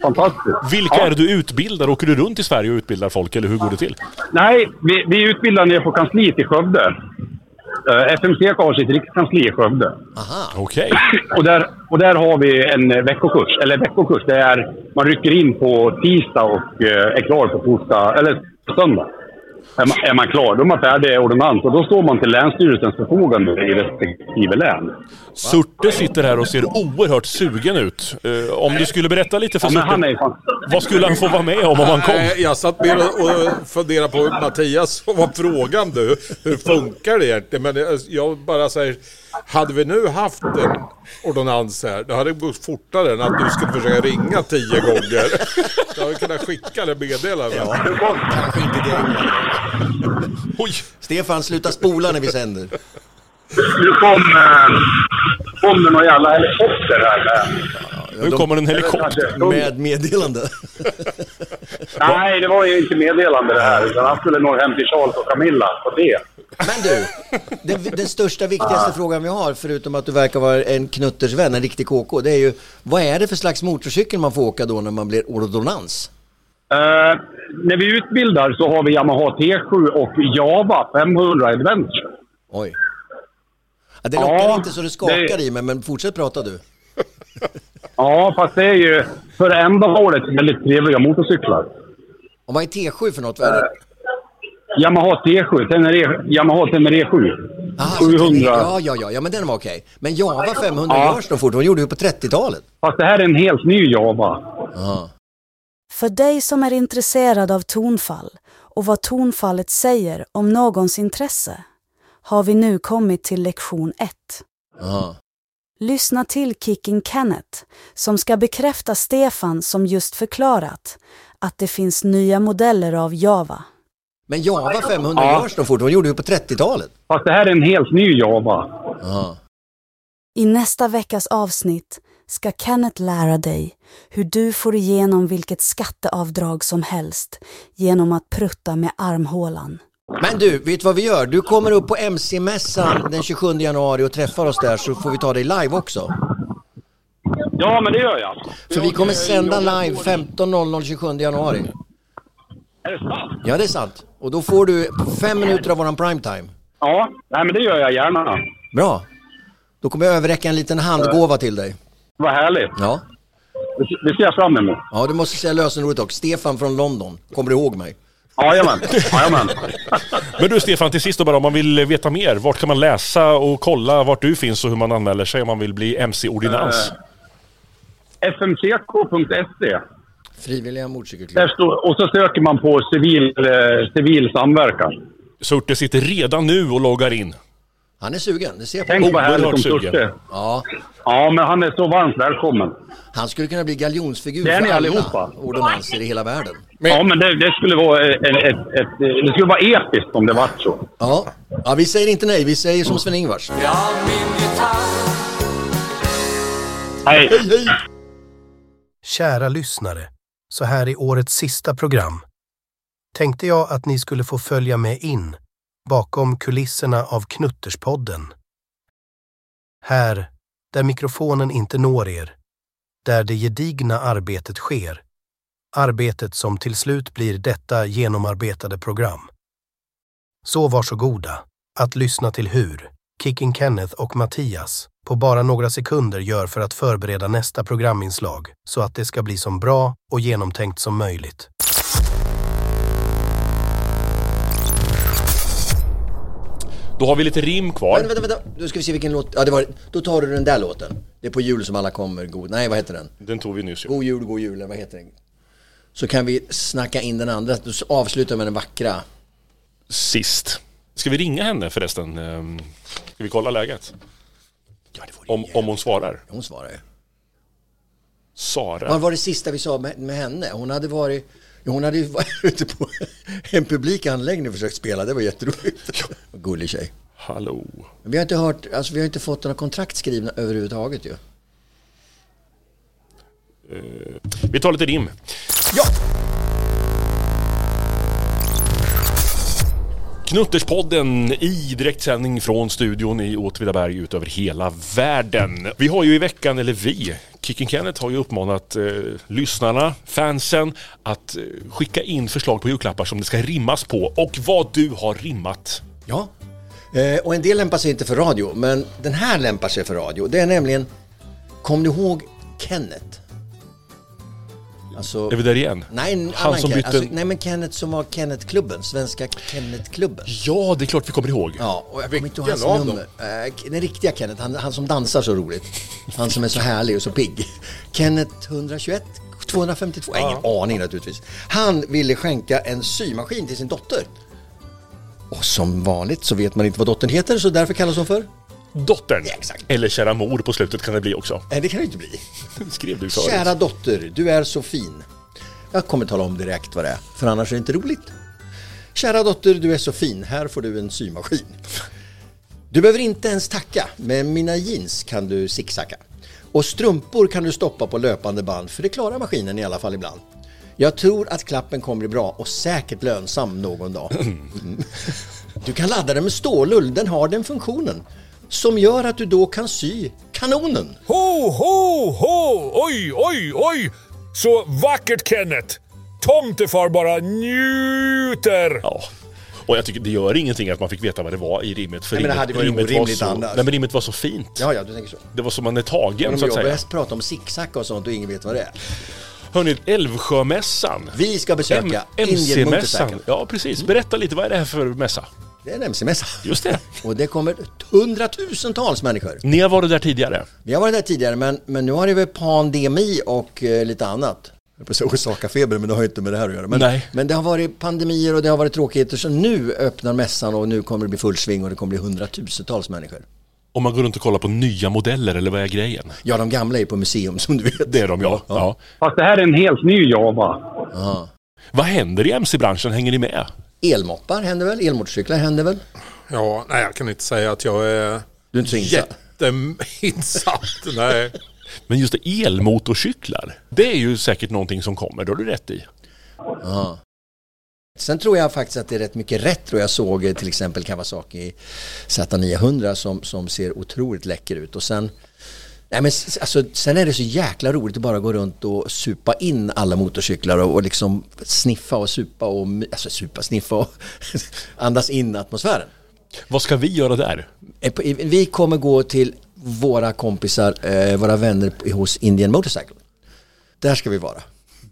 [SPEAKER 2] vilka är det du utbildar? Åker du runt i Sverige och utbildar folk, eller hur går det till?
[SPEAKER 12] Nej, vi, vi utbildar nere på kansliet i Skövde. Uh, FMC har sitt rikskansli i Skövde.
[SPEAKER 2] Aha. Okej.
[SPEAKER 12] Och där, och där har vi en eh, veckokurs. Eller veckokurs, det är man rycker in på tisdag och eh, är klar på torsdag, eller på söndag. Är man, är man klar, då är man färdig i ordonnans och då står man till Länsstyrelsens förfogande i respektive län.
[SPEAKER 2] Surte sitter här och ser oerhört sugen ut. Eh, om du skulle berätta lite för
[SPEAKER 12] Ja, men
[SPEAKER 2] Surte,
[SPEAKER 12] han är fan-
[SPEAKER 2] vad skulle han få vara med om om han kom?
[SPEAKER 5] Nej, Jag satt mer och- och funderade på Mattias, vad var frågan du? Hur funkar det egentligen? Men det- jag bara säger, hade vi nu haft en ordonnans här, då hade det gått fortare än att du skulle försöka ringa tio gånger. Då hade vi kunnat skicka det meddelandet.
[SPEAKER 4] Kanske inte det. Stefan, sluta spola när vi sänder.
[SPEAKER 12] Nu kom, eh, kom det någon jävla helikopter här med.
[SPEAKER 2] Nu kommer en helikopter.
[SPEAKER 4] Med meddelande.
[SPEAKER 12] Nej, det var ju inte meddelande det här. Utan han skulle nå hem till Charles och Camilla på det.
[SPEAKER 4] Men du, den, den största, viktigaste frågan vi har, förutom att du verkar vara en knuttersvän, en riktig KK, det är ju vad är det för slags motorcykel man får åka då när man blir ordonnans?
[SPEAKER 12] Eh, när vi utbildar så har vi Yamaha T7 E och Java 500 Adventure.
[SPEAKER 4] Oj. Ja, det lockar
[SPEAKER 12] Ja,
[SPEAKER 4] inte så det skakar i mig, men fortsätt prata du.
[SPEAKER 12] Ja, fast det är ju för ändamålet väldigt trevliga motorcyklar.
[SPEAKER 4] Om man är T7 för något, vad är det?
[SPEAKER 12] Eh, Yamaha T7, Tenere, E- Yamaha Tenere 7.
[SPEAKER 4] Ah,
[SPEAKER 12] 700.
[SPEAKER 4] Ja, ja, ja, ja, men den var okej. Men Java 500
[SPEAKER 12] Ja.
[SPEAKER 4] görs de fortfarande, de gjorde ju på 30-talet.
[SPEAKER 12] Fast det här är en helt ny Java.
[SPEAKER 1] För dig som är intresserad av tonfall och vad tonfallet säger om någons intresse har vi nu kommit till lektion 1.
[SPEAKER 4] Aha.
[SPEAKER 1] Lyssna till Kicking Kenneth som ska bekräfta Stefan som just förklarat att det finns nya modeller av Java.
[SPEAKER 4] Men Java 500 görs de fortfarande, de gjorde ju på 30-talet.
[SPEAKER 12] Fast det här är en helt ny Java.
[SPEAKER 1] I nästa veckas avsnitt ska Kenneth lära dig hur du får igenom vilket skatteavdrag som helst genom att prutta med armhålan.
[SPEAKER 4] Men du, vet du vad vi gör? Du kommer upp på MC-mässan den 27 januari och träffar oss där så får vi ta dig live också.
[SPEAKER 12] Ja, men det gör jag.
[SPEAKER 4] För vi kommer sända live 15.00 27 januari.
[SPEAKER 12] Är det sant?
[SPEAKER 4] Ja, det är sant. Och då får du fem minuter av våran primetime.
[SPEAKER 12] Ja, nej, men det gör jag gärna.
[SPEAKER 4] Bra. Då kommer jag överräcka en liten handgåva till dig.
[SPEAKER 12] Vad härligt.
[SPEAKER 4] Ja.
[SPEAKER 12] Det ser jag fram emot.
[SPEAKER 4] Ja, du måste säga lösenordet också. Stefan från London. Kommer du ihåg mig?
[SPEAKER 12] Jajamän. Jajamän.
[SPEAKER 2] Men du Stefan, till sist då bara, om man vill veta mer, vart kan man läsa och kolla vart du finns och hur man anmäler sig om man vill bli
[SPEAKER 12] Eh,
[SPEAKER 2] MC-ordinans?
[SPEAKER 12] fmck.se.
[SPEAKER 4] Frivilliga motorcykelklubben.
[SPEAKER 12] Där står, och så söker man på civil, eh, civil samverkan.
[SPEAKER 2] Surte sitter redan nu och loggar in.
[SPEAKER 4] Han är sugen, det ser jag på
[SPEAKER 12] Tänk vad härligt om
[SPEAKER 2] Oerhört sugen.
[SPEAKER 12] Surte.
[SPEAKER 4] Ja.
[SPEAKER 12] ja, men han är så varmt välkommen.
[SPEAKER 4] Han skulle kunna bli galjonsfigur
[SPEAKER 12] Det är
[SPEAKER 4] för
[SPEAKER 12] ni
[SPEAKER 4] alla
[SPEAKER 12] allihopa.
[SPEAKER 4] ordonnanser i hela världen.
[SPEAKER 12] Ja, men det, det skulle vara eh, en- ett, ett, det skulle vara episkt om det vart så.
[SPEAKER 4] Ja. ja, vi säger inte nej. Vi säger
[SPEAKER 12] Mm.
[SPEAKER 4] som Sven-Ingvars.
[SPEAKER 12] Hej!
[SPEAKER 13] Kära lyssnare, så här i årets sista program tänkte jag att ni skulle få följa med in bakom kulisserna av Knutterspodden. Här, där mikrofonen inte når er, där det gedigna arbetet sker. Arbetet som till slut blir detta genomarbetade program. Så varsågoda att lyssna till hur Kicking Kenneth och Mattias på bara några sekunder gör för att förbereda nästa programinslag så att det ska bli så bra och genomtänkt som möjligt.
[SPEAKER 2] Då har vi lite rim kvar.
[SPEAKER 4] Vänta, vänta, vänta. Nu ska vi se vilken låt... Ja, det var... Då tar du den där låten. Det är på jul som alla kommer. God... Nej, vad heter den?
[SPEAKER 2] Den tog vi nyss ju.
[SPEAKER 4] God jul, god jul. eller Vad heter den? Så kan vi snacka in den andra. Då avslutar vi med den vackra.
[SPEAKER 2] Sist. Ska vi ringa henne förresten? Ehm, Ska vi kolla läget? Om, om hon svarar.
[SPEAKER 4] Hon svarar ju.
[SPEAKER 2] Sara.
[SPEAKER 4] Vad var det sista vi sa med, med henne? Hon hade varit... jo, Hon hade ju varit ute på en publik anläggning och försökt spela. Det var jätteroligt. Vad Gullig tjej.
[SPEAKER 2] Hallå.
[SPEAKER 4] Men Vi har inte hört... Alltså vi har inte fått några kontrakt skrivna överhuvudtaget ju.
[SPEAKER 2] Eh, vi tar lite rim.
[SPEAKER 4] Ja!
[SPEAKER 2] Knutterspodden i direktsändning från studion i Åtvidaberg ut över hela världen. Vi har ju i veckan, eller vi, Kicken Kenneth har ju uppmanat eh, lyssnarna, fansen, att eh, skicka in förslag på julklappar som det ska rimmas på och vad du har rimmat.
[SPEAKER 4] Ja. Eh, och en del lämpar sig inte för radio, men den här lämpar sig för radio. Det är nämligen... Kom du ihåg Kenneth? Alltså...
[SPEAKER 2] Är vi där igen?
[SPEAKER 4] Nej, en
[SPEAKER 2] Han
[SPEAKER 4] annan
[SPEAKER 2] som
[SPEAKER 4] Ken-
[SPEAKER 2] bytte...
[SPEAKER 4] alltså, nej, men Kenneth som var Kennethklubben, Svenska Kennethklubben.
[SPEAKER 2] Ja, det är klart vi kommer ihåg.
[SPEAKER 4] Ja, och jag kommer inte ihåg hans
[SPEAKER 2] Vilken av
[SPEAKER 4] nummer. Eh, den riktiga Kenneth, han, han som dansar så roligt. Han som är så härlig och så pigg. Kenneth 121, 252, ja. ingen aning naturligtvis. Han ville skänka en symaskin till sin dotter. Och som vanligt så vet man inte vad dottern heter, så därför kallas hon för?
[SPEAKER 2] Dottern. Eller kära mor på slutet kan det bli också.
[SPEAKER 4] Nej, Eh, det kan det inte bli.
[SPEAKER 2] Skrev du förut.
[SPEAKER 4] Kära dotter, du är så fin. Jag kommer tala om direkt vad det är, för annars är det inte roligt. Kära dotter, du är så fin. Här får du en symaskin. Du behöver inte ens tacka. Med mina jeans kan du zigzacka. Och strumpor kan du stoppa på löpande band, för det klarar maskinen i alla fall ibland. Jag tror att klappen kommer bli bra och säkert lönsam någon dag. Mm. Du kan ladda den med stålull, den har den funktionen. Som gör att du då kan sy kanonen.
[SPEAKER 7] Ho, ho, ho! Oj, oj, oj! Så vackert Kenneth! Tomtefar bara njuter!
[SPEAKER 2] Ja. Och jag tycker det gör ingenting att man fick veta vad det var i rimmet. För
[SPEAKER 4] Nej, men det
[SPEAKER 2] rimmet-
[SPEAKER 4] hade varit
[SPEAKER 2] rimmet var
[SPEAKER 4] orimligt
[SPEAKER 2] så,
[SPEAKER 4] annars.
[SPEAKER 2] Nej men rimmet var så fint.
[SPEAKER 4] Ja, ja, du tänker så.
[SPEAKER 2] Det var som man är tagen
[SPEAKER 4] Men
[SPEAKER 2] så
[SPEAKER 4] om
[SPEAKER 2] att
[SPEAKER 4] jag
[SPEAKER 2] säga.
[SPEAKER 4] börjar prata om zigzag och sånt och ingen vet vad det är.
[SPEAKER 2] Hörni, Älvsjömässan.
[SPEAKER 4] Vi ska besöka Indian
[SPEAKER 2] MC-mässan.
[SPEAKER 4] Motorcycle. Mm.
[SPEAKER 2] Ja precis, berätta lite vad är det här för mässa?
[SPEAKER 4] Det är en MC-mässa.
[SPEAKER 2] Just det.
[SPEAKER 4] Och det kommer hundratusentals människor.
[SPEAKER 2] Ni har varit där tidigare?
[SPEAKER 4] Vi har varit där tidigare, men, men nu har det väl pandemi och eh, lite annat. Jag höll på att säga Orsakafeber, men det har ju inte med det här att göra. Men,
[SPEAKER 2] Nej.
[SPEAKER 4] men det har varit pandemier och det har varit tråkigheter, så nu öppnar mässan och nu kommer det bli full sving och det kommer bli hundratusentals människor.
[SPEAKER 2] Om man går runt och kollar på nya modeller eller vad är grejen?
[SPEAKER 4] Ja, de gamla är ju på museum som du vet.
[SPEAKER 2] Det är de ja. ja.
[SPEAKER 12] Fast det här är en helt ny Java.
[SPEAKER 2] Vad händer i MC-branschen? Hänger ni med?
[SPEAKER 4] Elmoppar händer väl? Elmotorcyklar händer väl?
[SPEAKER 5] Ja, nej jag kan inte säga att jag är...
[SPEAKER 4] Du är inte så insatt?
[SPEAKER 5] Jätteinsatt, nej.
[SPEAKER 2] Men just det, elmotorcyklar. Det är ju säkert någonting som kommer, det har du rätt i.
[SPEAKER 4] Ja. Sen tror jag faktiskt att det är rätt mycket retro. Jag såg eh, till exempel Kawasaki Z900 som, som ser otroligt läcker ut. Och sen, nej men, s- alltså, sen är det så jäkla roligt att bara gå runt och supa in alla motorcyklar och, och liksom sniffa och supa och my- alltså, supa, sniffa och andas in atmosfären.
[SPEAKER 2] Vad ska vi göra där?
[SPEAKER 4] Eh, på- i- Vi kommer gå till våra kompisar, eh, våra vänner på- hos Indian Motorcycle. Där ska vi vara.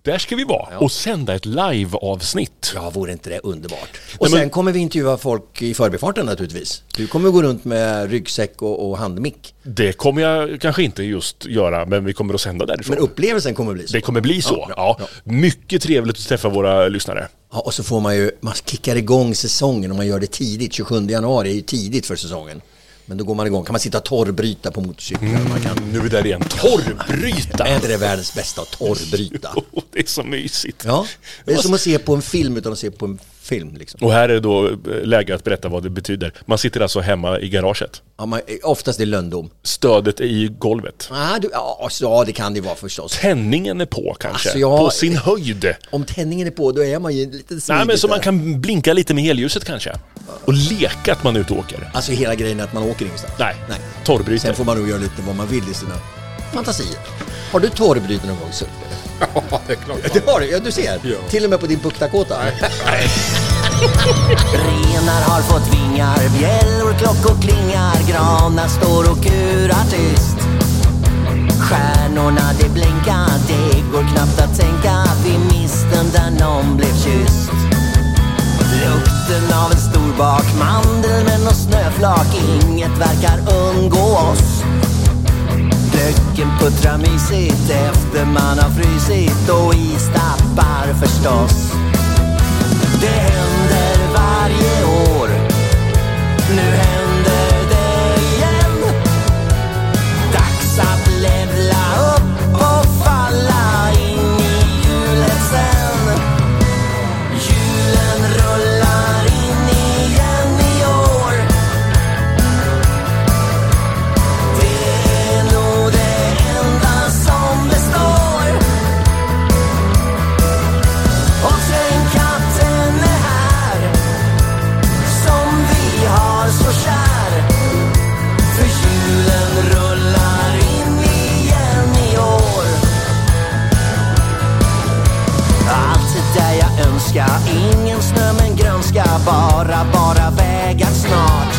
[SPEAKER 2] Där ska vi vara och sända ett live-avsnitt.
[SPEAKER 4] Ja, vore inte det underbart? Och
[SPEAKER 2] Nej, men-
[SPEAKER 4] sen kommer vi intervjua folk i förbifarten naturligtvis. Du kommer gå runt med ryggsäck och, och handmick.
[SPEAKER 2] Det kommer jag kanske inte just göra, men vi kommer att sända därifrån.
[SPEAKER 4] Men upplevelsen kommer bli så.
[SPEAKER 2] Det kommer bli så.
[SPEAKER 4] Ja,
[SPEAKER 2] Ja, Mycket trevligt att träffa våra lyssnare.
[SPEAKER 4] Ja, och så får man ju, man kickar igång säsongen om man gör det tidigt. 27 januari är ju tidigt för säsongen. Men då går man igång, kan man sitta och torrbryta på motorcyklar. Man kan...
[SPEAKER 2] Mm, Nu är vi där igen. Torrbryta!
[SPEAKER 4] Är inte det världens bästa att torrbryta?
[SPEAKER 2] Jo, det är så mysigt.
[SPEAKER 4] Ja, det är som att se på en film utan att se på en film liksom.
[SPEAKER 2] Och här är då eh, läge att berätta vad det betyder. Man sitter alltså hemma i garaget.
[SPEAKER 4] Ja, man, eh, oftast i lönndom.
[SPEAKER 2] Stödet är i golvet.
[SPEAKER 4] Ah, du, ja, alltså, ja, det kan det vara förstås.
[SPEAKER 2] Tändningen är på kanske.
[SPEAKER 4] Alltså, jag-
[SPEAKER 2] På sin höjd.
[SPEAKER 4] Om tändningen är på då är man ju lite
[SPEAKER 2] Nej, men så
[SPEAKER 4] där.
[SPEAKER 2] man kan blinka lite med helljuset kanske. Och leka att man är ute och åker.
[SPEAKER 4] Alltså hela grejen är att man åker ingenstans.
[SPEAKER 2] Nej, torrbryter.
[SPEAKER 4] Sen får man nog göra lite vad man vill i sina fantasier. Har du torrbryter någon gång Suppe?
[SPEAKER 5] Ja, det är klart.
[SPEAKER 4] Det har du, ja du ser. Till och med på din Puktakåta.
[SPEAKER 3] Renar har fått vingar, bjällror, klockor klingar, granar står och kurar tyst. Stjärnorna det blinkar, det går knappt att tänka att vi mist den där någon blev kysst. Lukten av en stor mandelmän och snöflak, inget verkar undgå oss. Däcken puttrar mysigt efter man har frysit och istappar förstås. Det händer varje år Nu händer det igen Dags att levla upp och falla bara, bara vägar snart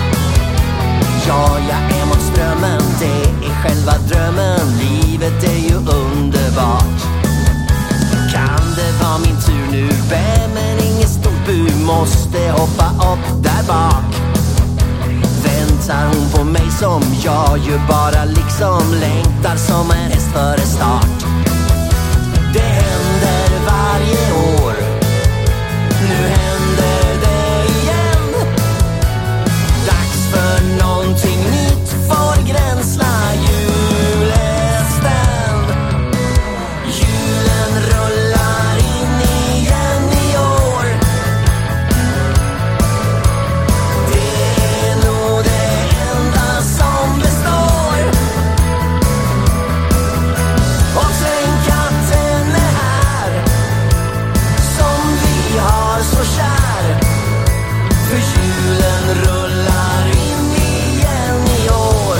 [SPEAKER 3] Ja, jag är mot strömmen, det är själva drömmen Livet är ju underbart Kan det vara min tur nu? Bä, men inget stort bu Måste hoppa upp där bak Väntar hon på mig som jag ju bara liksom längtar som en häst före start Det händer varje år Nu händer det igen Dags för någonting nytt Får gränsla julesten Julen rullar in igen i år Det är nog det enda som består Och sen katten är här Som vi har så kär För julen rullar in igen i år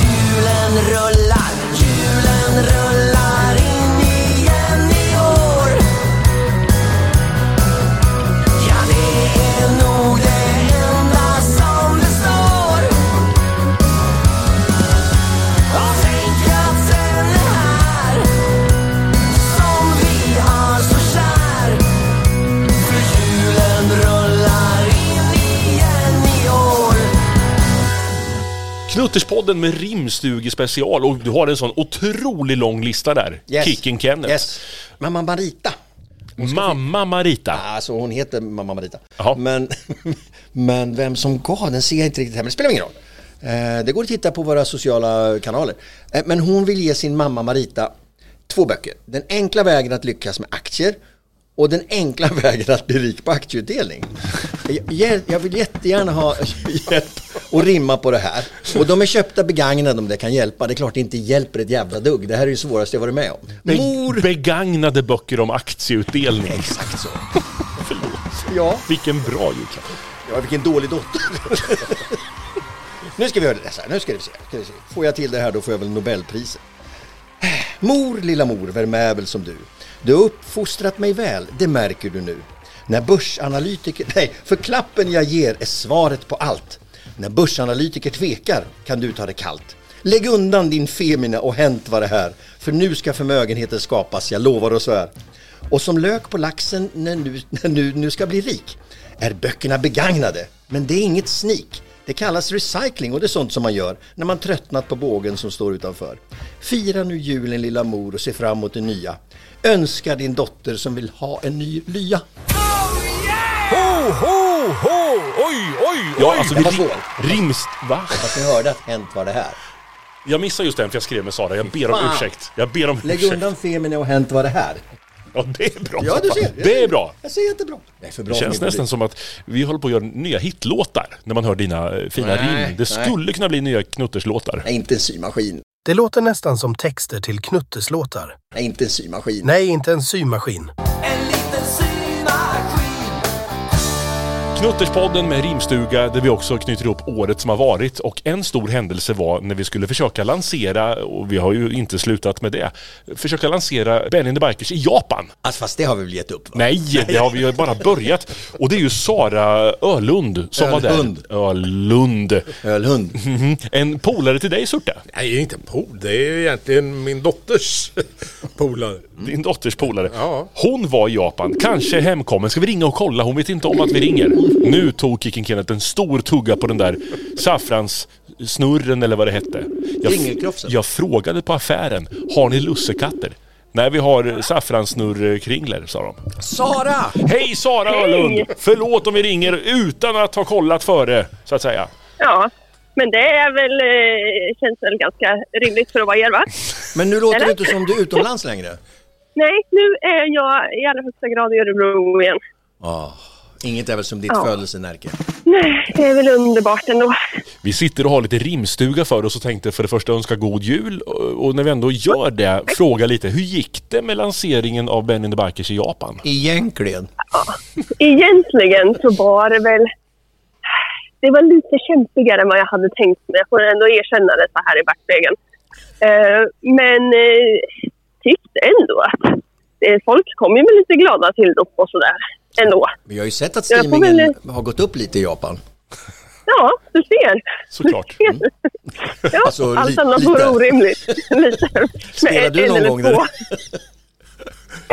[SPEAKER 3] Julen rullar, julen rullar in igen i år Ja, det är nog det enda som det står Och tänk att den är här Som vi har så kär För julen rullar in igen i år
[SPEAKER 2] Knutterspodden med rimstuge special och du har en sån otroligt lång lista där.
[SPEAKER 4] Yes.
[SPEAKER 2] Kicken Kenneth.
[SPEAKER 4] Yes. Mamma Marita.
[SPEAKER 2] Mamma Marita?
[SPEAKER 4] Alltså hon heter Mamma Marita. Men, men vem som gav den ser jag inte riktigt här, men det spelar ingen roll. Eh, Det går att titta på våra sociala kanaler. Eh, Men hon vill ge sin mamma Marita två böcker. Den enkla vägen att lyckas med aktier och den enkla vägen att bli rik på aktieutdelning. Jag- Jag, jag vill jättegärna ha hjälp och rimma på det här. Och de är köpta begagnade om det kan hjälpa. Det är klart det inte hjälper ett jävla dugg. Det här är det svåraste jag varit med om.
[SPEAKER 2] Be- Begagnade böcker om aktieutdelning. Exakt
[SPEAKER 4] så.
[SPEAKER 2] Förlåt.
[SPEAKER 4] Ja.
[SPEAKER 2] Vilken bra julklapp.
[SPEAKER 4] Ja, vilken dålig dotter. nu ska vi höra det här. Nu ska vi se. Ska vi se. Får jag till det här då får jag väl Nobelpriset. Mor, lilla mor, vem är väl som du? Du har uppfostrat mig väl, det märker du nu. När börsanalytiker... Nej, för klappen jag ger är svaret på allt. När börsanalytiker tvekar kan du ta det kallt. Lägg undan din femina och hänt vad det här. För nu ska förmögenheten skapas, jag lovar och svär. Och som lök på laxen när nu, när nu, nu ska bli rik är böckerna begagnade. Men det är inget sneak. Det kallas recycling och det är sånt som man gör när man tröttnat på bågen som står utanför. Fira nu julen lilla mor och se fram emot det nya. Önska din dotter som vill ha en ny lya.
[SPEAKER 7] Ho, ho, ho! Oj, oj,
[SPEAKER 2] Ja,
[SPEAKER 7] oj!
[SPEAKER 2] alltså, vi rim, rims... Va?
[SPEAKER 4] Fast ni hörde att hänt var det här.
[SPEAKER 2] Jag missade just den för jag skrev med Sara. Jag ber om
[SPEAKER 4] Fan.
[SPEAKER 2] ursäkt. Jag ber om
[SPEAKER 4] Lägg
[SPEAKER 2] ursäkt.
[SPEAKER 4] undan Femina och hänt var det här.
[SPEAKER 2] Ja, det är bra.
[SPEAKER 4] Ja, du ser.
[SPEAKER 2] Det är bra.
[SPEAKER 4] Jag säger att det är bra. Det är för bra
[SPEAKER 2] Det
[SPEAKER 4] för
[SPEAKER 2] känns
[SPEAKER 4] min
[SPEAKER 2] nästan
[SPEAKER 4] publik.
[SPEAKER 2] som att vi håller på att göra nya hitlåtar när man hör dina eh, fina
[SPEAKER 13] Nej,
[SPEAKER 2] rim.
[SPEAKER 13] nej.
[SPEAKER 2] Det skulle kunna bli nya Knutterslåtar.
[SPEAKER 4] Nej, inte en symaskin.
[SPEAKER 13] Det låter nästan som texter till Knutteslåtar.
[SPEAKER 4] Nej, inte en symaskin.
[SPEAKER 13] Nej, inte en symaskin.
[SPEAKER 2] Knutterspodden med rimstuga där vi också knyter ihop året som har varit och en stor händelse var när vi skulle försöka lansera, och vi har ju inte slutat med det, försöka lansera Ben in the Bikers i Japan.
[SPEAKER 4] Alltså fast det har vi väl gett upp? Va?
[SPEAKER 2] Nej, det har vi ju bara börjat. Och det är ju Sara Ölund som
[SPEAKER 5] Ölhund.
[SPEAKER 2] var där. Ölund.
[SPEAKER 4] Ölhund.
[SPEAKER 2] Mhm. En polare till dig Surte.
[SPEAKER 5] Nej, det är inte en pool. Det är egentligen min dotters polare.
[SPEAKER 2] Din dotters polare. Hon var i Japan, kanske hemkommen. Ska vi ringa och kolla? Hon vet inte om att vi ringer. Nu tog Kicken Kenneth en stor tugga på den där saffranssnurren eller vad det hette.
[SPEAKER 4] Kringelkrofsen.
[SPEAKER 2] jag frågade på affären, har ni lussekatter? Nej, vi har saffranssnurrkringler, sa de.
[SPEAKER 4] Sara!
[SPEAKER 2] Hej Sara
[SPEAKER 14] Hej!
[SPEAKER 2] Öhlund! Förlåt om vi ringer utan att ha kollat före, så att säga.
[SPEAKER 14] Ja, men det är väl, eh, känns väl ganska rimligt för att vara er, va?
[SPEAKER 4] Men nu låter
[SPEAKER 14] Eller?
[SPEAKER 4] det inte som du är utomlands längre.
[SPEAKER 14] Nej, nu är jag i allra högsta grad i Örebro igen.
[SPEAKER 4] Ah, inget är väl som ditt
[SPEAKER 14] Ja.
[SPEAKER 4] födelsenärke.
[SPEAKER 14] nej, det är väl underbart ändå.
[SPEAKER 2] Vi sitter och har lite rimstuga för oss och tänkte för det första önska god jul och och när vi ändå gör det, fråga lite. Hur gick det med lanseringen av Benny the Bikers i Japan?
[SPEAKER 4] Egentligen.
[SPEAKER 14] Egentligen så var det väl... Det var lite kämpigare än vad jag hade tänkt mig. Jag får ändå erkänna det så här i backspegeln. Eh, men eh, tyckte ändå att eh, folk kom ju med lite glada tillrop och sådär ändå.
[SPEAKER 4] Vi har ju sett att
[SPEAKER 14] Jag får
[SPEAKER 4] streamingen
[SPEAKER 14] väl-
[SPEAKER 4] har gått upp lite i Japan. Mm.
[SPEAKER 14] Ja, du ser.
[SPEAKER 2] Såklart.
[SPEAKER 14] Ja,
[SPEAKER 4] Alltså,
[SPEAKER 14] allt
[SPEAKER 4] li-
[SPEAKER 14] annat
[SPEAKER 4] lite.
[SPEAKER 14] vore orimligt. lite.
[SPEAKER 4] Spelar du
[SPEAKER 14] Med
[SPEAKER 4] någon
[SPEAKER 14] en eller
[SPEAKER 4] gång
[SPEAKER 14] två.
[SPEAKER 4] där?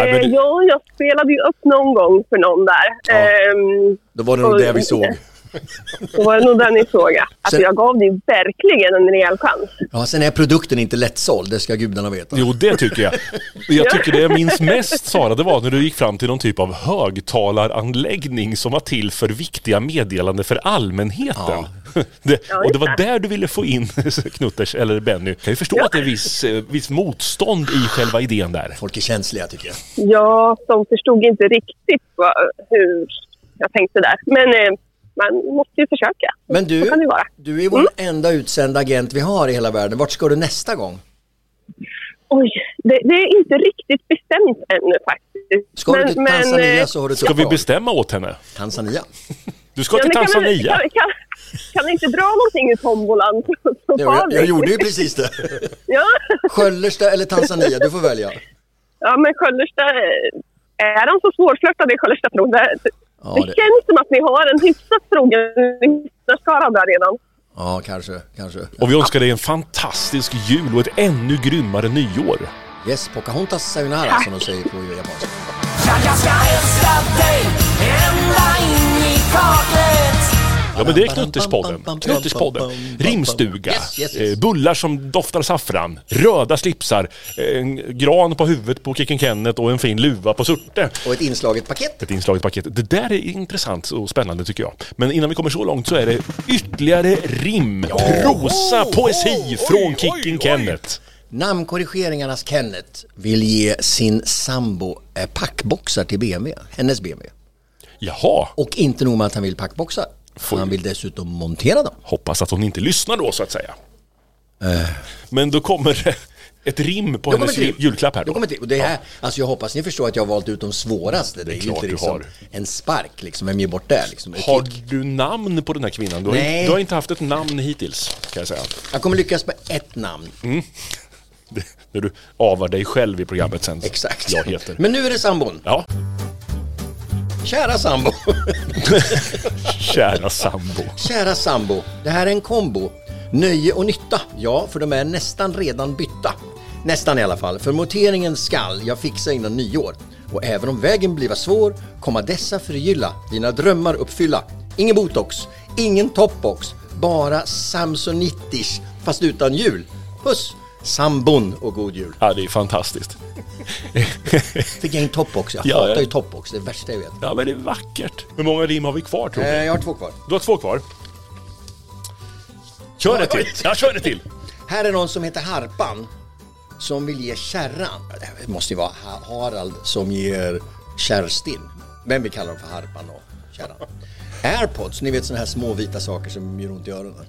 [SPEAKER 2] Nej, men
[SPEAKER 14] Eh,
[SPEAKER 2] det-
[SPEAKER 14] Ja, jag spelade ju upp någon gång för någon där. Ehm,
[SPEAKER 4] Då var det nog
[SPEAKER 14] och-
[SPEAKER 4] det vi såg.
[SPEAKER 14] Då var det nog den ni såg, ja. Alltså,
[SPEAKER 4] Sen-
[SPEAKER 14] jag gav det ju verkligen en rejäl chans.
[SPEAKER 4] Ja, sen är produkten inte lättsåld, det ska gudarna veta.
[SPEAKER 2] Jo, det tycker jag. Jag tycker det jag minns mest Sara, det var när du gick fram till någon typ av högtalaranläggning som var till för viktiga meddelanden för allmänheten. Det, och det var där du ville få in Knutters, eller Benny. Jag kan ju förstå att det är viss, eh, viss motstånd i själva idén där.
[SPEAKER 4] Folk är känsliga tycker jag.
[SPEAKER 14] Ja, de förstod inte riktigt vad, hur jag tänkte där. Men eh, man måste ju försöka.
[SPEAKER 4] Men
[SPEAKER 14] Så
[SPEAKER 4] du,
[SPEAKER 14] kan det vara. Mm.
[SPEAKER 4] du är vår enda utsända agent vi har i hela världen. Vart ska du nästa gång?
[SPEAKER 14] Oj, det, det är inte riktigt bestämt ännu faktiskt.
[SPEAKER 4] Ska du till
[SPEAKER 14] eh,
[SPEAKER 4] Tanzania så har du
[SPEAKER 2] Ska vi bestämma åt henne?
[SPEAKER 4] Tanzania.
[SPEAKER 2] Du ska
[SPEAKER 14] Ja,
[SPEAKER 2] till
[SPEAKER 14] men kan vi-
[SPEAKER 2] Tanzania?
[SPEAKER 14] Kan, kan, kan ni inte dra någonting ur tombolan? Så, så
[SPEAKER 4] Jo,
[SPEAKER 14] far
[SPEAKER 4] jag,
[SPEAKER 14] vi?
[SPEAKER 4] jag gjorde ju precis det.
[SPEAKER 14] Ja,
[SPEAKER 4] Sköllersta eller Tanzania, du får välja.
[SPEAKER 14] ja men Sköllersta... eh, Är de så svårflörtade i Sköllersta, tror jag? Det, det,
[SPEAKER 4] det-
[SPEAKER 14] känns som att ni har en hyfsat trogen lyssnarskara där redan.
[SPEAKER 4] Ja, kanske, kanske.
[SPEAKER 2] Och vi önskar dig en fantastisk jul och ett ännu grymmare nyår.
[SPEAKER 4] Yes, Pocahontas sayonara som de säger på japanska.
[SPEAKER 3] Ja, jag ska älska dig ända in i kaklet
[SPEAKER 2] Ja men det är Knuttespodden. Knuttespodden. Rimstuga. eh, Bullar som doftar saffran. Röda slipsar. eh, En gran på huvudet på Kicken Kenneth och en fin luva på Surte.
[SPEAKER 4] Och ett inslaget paket.
[SPEAKER 2] Ett inslaget paket. Det där är intressant och spännande tycker jag. Men innan vi kommer så långt så är det ytterligare rim, prosa, poesi från Kicken Kenneth.
[SPEAKER 4] Namnkorrigeringarnas Kenneth vill ge sin sambo eh, packboxar till BMW, hennes BMW.
[SPEAKER 2] Jaha.
[SPEAKER 4] Och inte nog med att han vill packboxar, han vill dessutom montera dem.
[SPEAKER 2] Hoppas att hon inte lyssnar då så att säga. Men då kommer det ett rim på
[SPEAKER 4] Då
[SPEAKER 2] hennes
[SPEAKER 4] Eh. kommer ett
[SPEAKER 2] rim- julklapp här
[SPEAKER 4] Då
[SPEAKER 2] då.
[SPEAKER 4] kommer det, och det här, alltså jag hoppas ni förstår att jag har valt ut de svåraste. Det är, ju
[SPEAKER 2] klart
[SPEAKER 4] inte
[SPEAKER 2] du
[SPEAKER 4] liksom
[SPEAKER 2] har.
[SPEAKER 4] en spark liksom, vem ger bort det? Liksom.
[SPEAKER 2] Har du namn på den här kvinnan? Du har,
[SPEAKER 4] Nej.
[SPEAKER 2] du har inte haft ett namn hittills, kan jag säga.
[SPEAKER 4] Jag kommer lyckas med ett namn.
[SPEAKER 2] Mm. Det, när du avar dig själv i programmet sen.
[SPEAKER 4] Exakt.
[SPEAKER 2] Jag heter...
[SPEAKER 4] Men nu är det sambon.
[SPEAKER 2] Ja,
[SPEAKER 4] Kära sambo.
[SPEAKER 2] kära sambo.
[SPEAKER 4] Kära sambo, det här är en kombo. Nöje och nytta, ja, för de är nästan redan bytta. Nästan i alla fall, för monteringen skall jag fixa innan nyår. Och även om vägen bliva svår, komma dessa förgylla, dina drömmar uppfylla. Ingen botox, ingen topbox, bara Samsonitish, fast utan jul. Puss, sambon och god jul.
[SPEAKER 2] Ja, det är fantastiskt.
[SPEAKER 4] Fick jag in topbox? Jag
[SPEAKER 2] Ja,
[SPEAKER 4] hatar
[SPEAKER 2] ja.
[SPEAKER 4] ju topbox, det är det värsta jag vet.
[SPEAKER 2] Ja, men det är vackert. Hur många rim har vi kvar tror
[SPEAKER 4] Eh,
[SPEAKER 2] du?
[SPEAKER 4] jag har två kvar.
[SPEAKER 2] Du har två kvar. Kör det till! Ja, kör det till!
[SPEAKER 4] Här är någon som heter Harpan som vill ge kärran. Det måste ju vara Ha- Harald som ger Kerstin. Men vi kallar dem för Harpan och kärran. Airpods, ni vet sådana här små vita saker som gör ont i öronen.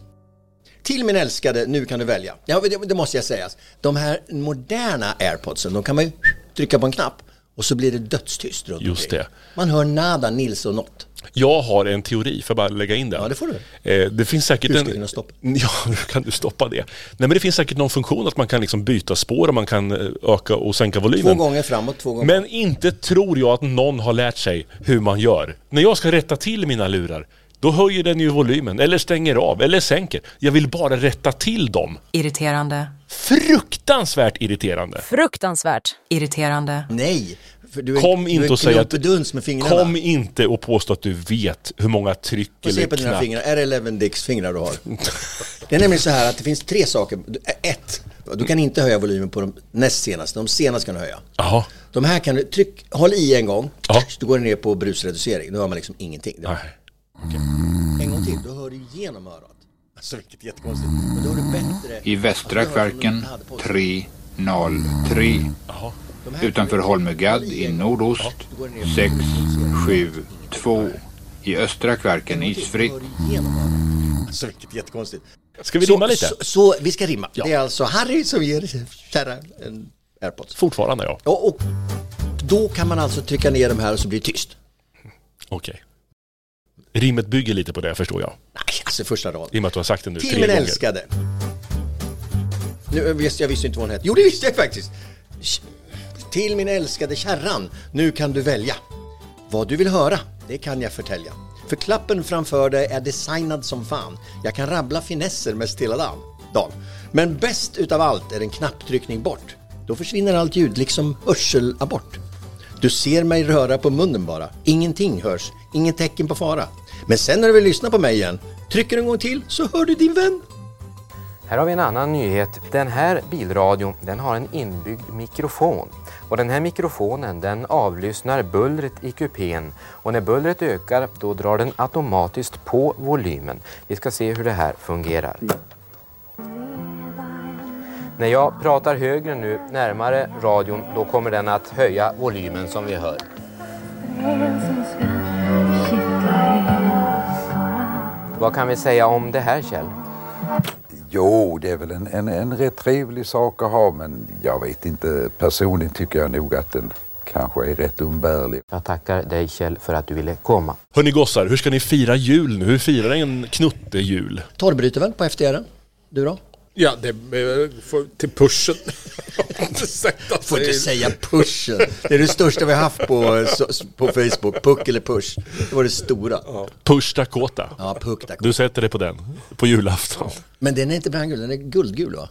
[SPEAKER 4] Till min älskade, nu kan du välja. Ja, men det, det måste jag säga. De här moderna airpodsen, de kan man ju trycka på en knapp och så blir det dödstyst runt
[SPEAKER 2] Just
[SPEAKER 4] omkring.
[SPEAKER 2] det.
[SPEAKER 4] Man hör nada, Nils och något.
[SPEAKER 2] Jag har en teori, för bara lägga in den. Ja, det
[SPEAKER 4] får
[SPEAKER 2] du. Det finns säkert
[SPEAKER 4] Hur ska
[SPEAKER 2] en...
[SPEAKER 4] jag kunna stoppa?
[SPEAKER 2] Ja, hur kan du stoppa det? Nej, men det finns säkert någon funktion att man kan liksom byta spår och man kan eh, öka och sänka
[SPEAKER 4] Två
[SPEAKER 2] volymen.
[SPEAKER 4] gånger framåt, två gånger
[SPEAKER 2] Men inte tror jag att någon har lärt sig hur man gör. När jag ska rätta till mina lurar, då höjer den ju volymen, eller stänger av, eller sänker. Jag vill bara rätta till dem.
[SPEAKER 15] Irriterande.
[SPEAKER 2] Fruktansvärt irriterande.
[SPEAKER 15] Fruktansvärt. Irriterande.
[SPEAKER 4] Nej, för du är,
[SPEAKER 2] Kom
[SPEAKER 4] du
[SPEAKER 2] inte
[SPEAKER 4] är
[SPEAKER 2] och säg att...
[SPEAKER 4] knulpeduns med fingrarna.
[SPEAKER 2] Kom inte och påstå att du vet hur många tryck
[SPEAKER 4] Och se
[SPEAKER 2] eller
[SPEAKER 4] på dina
[SPEAKER 2] knack.
[SPEAKER 4] fingrar, är det Eleven Dicks fingrar du har? Det är nämligen så här att det finns tre saker. Ett, du kan inte höja volymen på de näst senaste, de senaste kan du höja.
[SPEAKER 2] Jaha.
[SPEAKER 4] De här kan du, tryck, håll i en gång, då går det ner på brusreducering, då hör man liksom ingenting. Det- En gång till, då hör du genom örat. Alltså vilket jättekonstigt. Men då är det bättre.
[SPEAKER 16] Mm. I Västra Kvarken 303. Utanför Holmögadd i nordost 672. I östra Kvarken isfritt.
[SPEAKER 4] Så vilket jättekonstigt.
[SPEAKER 2] Ska vi
[SPEAKER 4] så,
[SPEAKER 2] rimma lite?
[SPEAKER 4] Så, så vi ska rimma.
[SPEAKER 2] Ja.
[SPEAKER 4] Det är alltså Harry som ger Terra en airpods.
[SPEAKER 2] Fortfarande ja.
[SPEAKER 4] ja och då kan man alltså trycka ner de här och så blir det tyst.
[SPEAKER 2] Okej. Rimmet bygger lite på det förstår jag.
[SPEAKER 4] Nej, alltså första raden.
[SPEAKER 2] I och med att du har sagt det nu
[SPEAKER 4] Till
[SPEAKER 2] tre
[SPEAKER 4] min
[SPEAKER 2] gånger.
[SPEAKER 4] älskade. Nu, eh, visst, jag visste inte vad hon hette. Jo, det visste jag faktiskt. Sh- Till min älskade kärran. Nu kan du välja. Vad du vill höra, det kan jag förtälja. För klappen framför dig är designad som fan. Jag kan rabbla finesser med stilla dan- dan. Men bäst utav allt är en knapptryckning bort. Då försvinner allt ljud, liksom hörselabort. Du ser mig röra på munnen bara. Ingenting hörs, inget tecken på fara. Men sen när du vill lyssna på mig igen, trycker du en gång till så hör du din vän.
[SPEAKER 17] Här har vi en annan nyhet. Den här bilradion den har en inbyggd mikrofon. Och den här mikrofonen den avlyssnar bullret i kupén och när bullret ökar då drar den automatiskt på volymen. Vi ska se hur det här fungerar. När jag pratar högre nu, närmare radion, då kommer den att höja volymen som vi hör. Vad kan vi säga om det här Kjell?
[SPEAKER 16] Jo, det är väl en, en, en rätt trevlig sak att ha men jag vet inte. Personligen tycker jag nog att den kanske är rätt umbärlig.
[SPEAKER 17] Jag tackar dig Kjell för att du ville komma.
[SPEAKER 2] Hörni gossar, hur ska ni fira jul nu? Hur firar en knutte jul?
[SPEAKER 4] Torrbryter väl på FDR? Du då?
[SPEAKER 5] Ja, det eh, är för, till pushen. Sätta
[SPEAKER 4] Får inte säga pushen. Det är det största vi har haft på, eh, so- på Facebook. Puck eller push. Det var det stora.
[SPEAKER 2] Push Dakota.
[SPEAKER 4] Ja, puck Dakota.
[SPEAKER 2] Du sätter dig på den, på julafton.
[SPEAKER 4] Men den är inte brandgul, den är guldgul va?